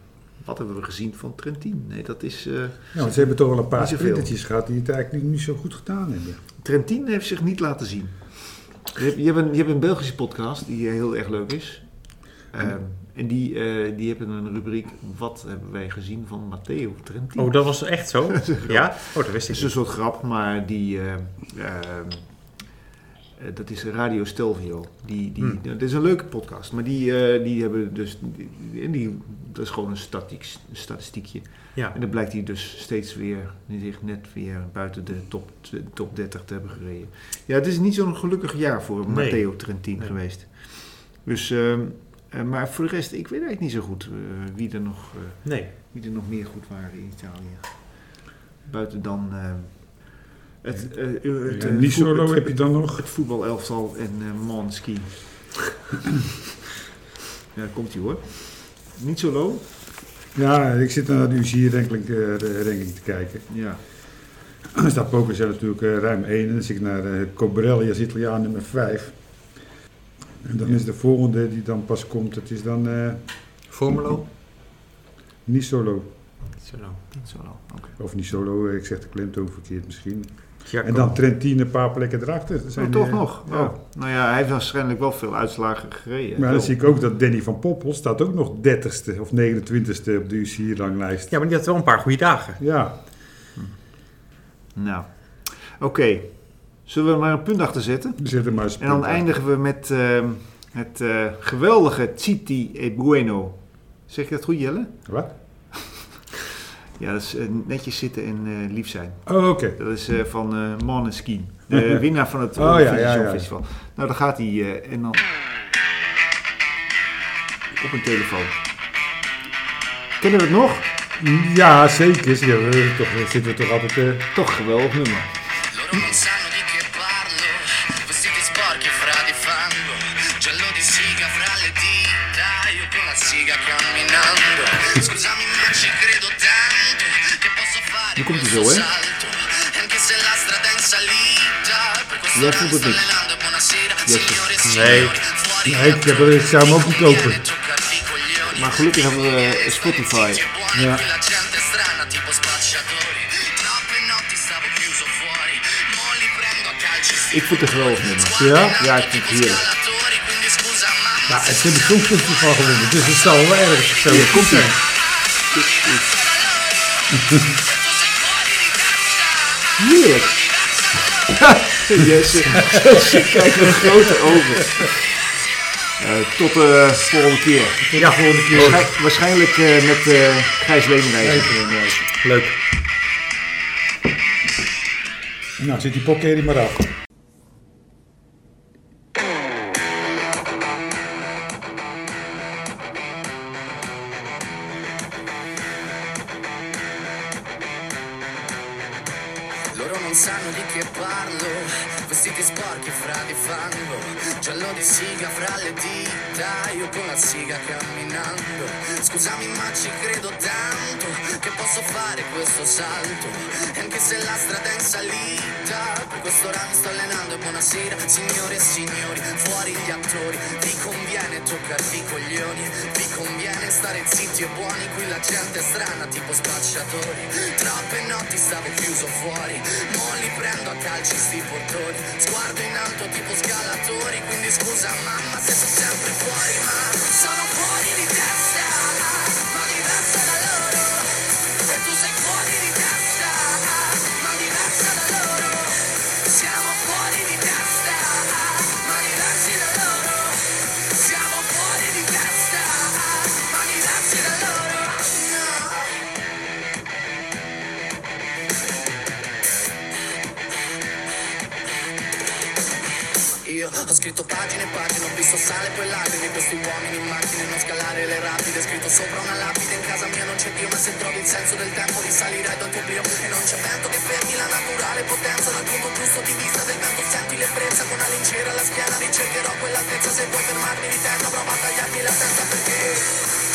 Wat hebben we gezien van Trentin? Nee, dat is... eh, Nou, want ze hebben toch wel een paar Niet zoveel. sprintertjes gehad die het eigenlijk niet zo goed gedaan hebben. Trentin heeft zich niet laten zien. Je hebt, je hebt, een, je hebt een Belgische podcast die heel erg leuk is. Ehm, en die, eh, die hebben een rubriek Wat hebben wij gezien van Matteo Trentin? Oh, dat was echt zo? ja? Oh, dat wist ik Het is een niet. soort grap, maar die. eh, ehm, eh, dat is Radio Stelvio. Die, die, Hmm. Dat is een leuke podcast, maar die, eh, die hebben dus. Die, en die, dat is gewoon een, statiek, een statistiekje. Ja. En dan blijkt hij dus steeds weer. zich net weer buiten de top, tw- top 30 te hebben gereden. Ja, het is niet zo'n gelukkig jaar voor Nee. Matteo Trentin Nee. geweest. Dus. ehm, eh, maar voor de rest, ik weet eigenlijk niet zo goed eh, wie er nog. eh, Nee. wie er nog meer goed waren in Italië. Buiten dan eh, het, eh, eh, het, Ja, eh, voet- Nisolo het- heb je dan nog. het voetbalelftal en eh Monski. ja, komt ie hoor. Niet zo low. Ja, ik zit naar de UCI-ranking te kijken. Ja. Dan staat Pokercel natuurlijk eh, ruim 1 en dan zit ik naar eh Cobrelli als Italiaan nummer 5. En dan is de volgende die dan pas komt, dat is dan eh Formelo? Nisolo. Zo nou. Niet zo low. Oké. Of Nisolo, eh, ik zeg de klemtoon verkeerd misschien. Giacomo. En dan Trentine, een paar plekken erachter. Dat Maar Zijn, toch eh, nog. ja. Oh. Nou ja, hij heeft waarschijnlijk wel veel uitslagen gereden. Maar Wel. dan zie ik ook dat Danny van Poppel staat ook nog 30ste of 29ste op de UCI-ranglijst. Ja, maar die had wel een paar goede dagen. Ja, Nou. Oké. Zullen we er maar een punt achter zetten? zet hem maar eens. En dan eindigen we met ehm, het eh, geweldige Titi e Bueno. Zeg ik dat goed, Jelle? Wat? Ja, dat is eh, netjes zitten en eh, lief zijn. Oh, oké. Dat is eh, van eh Måneskin, de winnaar van het Oh, ja, oh, ja, ja. Festival. Nou, daar gaat hij eh, en dan op een telefoon. Kennen we het nog? Ja, zeker. Ja, we, toch, zitten we toch altijd... eh, Toch geweldig nummer. Loro non sanno di che parlo Vestiti sporchi fra di fango Giallo di siga fra le dita Io con la siga camminando Scusami ma ci credo tanto Che posso fare Nu komt ie questo zo, hè? salto E Anche se la strada è in salita Per questo Jij vond het sta niks. allenando Buonasera Jesse. signore Nee. e signori Fuori Nee, la ik heb er- ik zou hem ook niet kopen. Viene toccarti i coglioni. Maar gelukkig hebben we eh, Spotify. Zitti e buoni, Ja. qui la gente è strana tipo spacciatori Troppe notti stavo chiuso fuori Mo li prendo a calci Ik vind het een geweldig nummer. Ja? Ja, ik vind het heerlijk. scalatori Quindi scusa mamma Ja, het hebben zo'n festival gewonnen, dus het zal wel erg zo komt ie. Heerlijk. Jesse, Jesse kijkt met grote ogen. Eh, tot de volgende keer. Ja, volgende keer. Waarschijn- waarschijnlijk eh, met eh Gijs Leemrijs. Eh, Leuk. Nou, zit die pokkerie maar af. Loro non sanno di che parlo Vestiti sporchi fra di fango Giallo di siga fra le dita Io con la siga camminando Scusami ma ci credo tanto Che posso fare questo salto E anche se la strada è in salita Per questo ramo sto allenando e buonasera Signore e signori, fuori gli attori Vi conviene toccarvi i coglioni Vi conviene stare zitti e buoni Qui la gente è strana tipo spacciatori Troppe notti stavo chiuso fuori Mo li prendo a calci sti portoni Sguardo in alto tipo scalatori Quindi scusa mamma se sono sempre fuori Ma sono fuori di testa Ma diversa da loro E tu sei fuori di testa Ma diversa da loro Siamo fuori di testa Ma diversi da loro Siamo fuori di testa Ma diversi da loro No. Io ho scritto pagine e pagine, ho visto sale e poi lacrime Questi uomini in macchine, non scalare le rapide Scritto sopra una lapide, in casa mia non c'è Dio Ma se trovi il senso del tempo risalirai dal tuo oblio E non c'è vento che fermi la naturale potenza Dal punto giusto di vista del vento senti l'ebbrezza Con la lincera alla schiena ricercherò quell'altezza Se vuoi fermarmi di testa, prova a tagliarmi la testa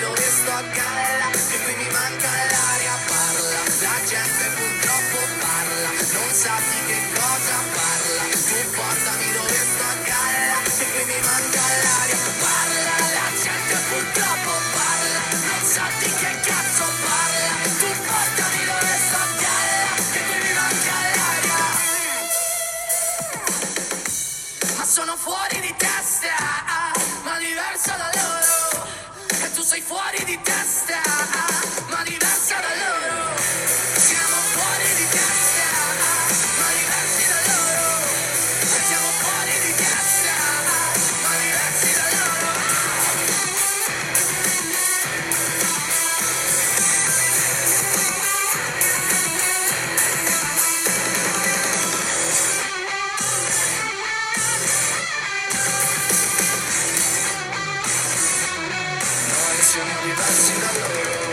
bacalla E qui mi manca l'aria parla La gente purtroppo parla Non sa di che cosa parla Tu portami dove sto a galla E qui mi manca l'aria parla La gente purtroppo parla Non sa di che cazzo parla Tu portami dove sto a galla E qui mi manca l'aria ma sono fuori di testa, ma diversa da loro. E tu sei fuori di testa, ma diversa da loro. Siamo fuori di testa, ma diversi da loro. E siamo fuori di testa, ma diversi da loro. Noi siamo diversi da loro.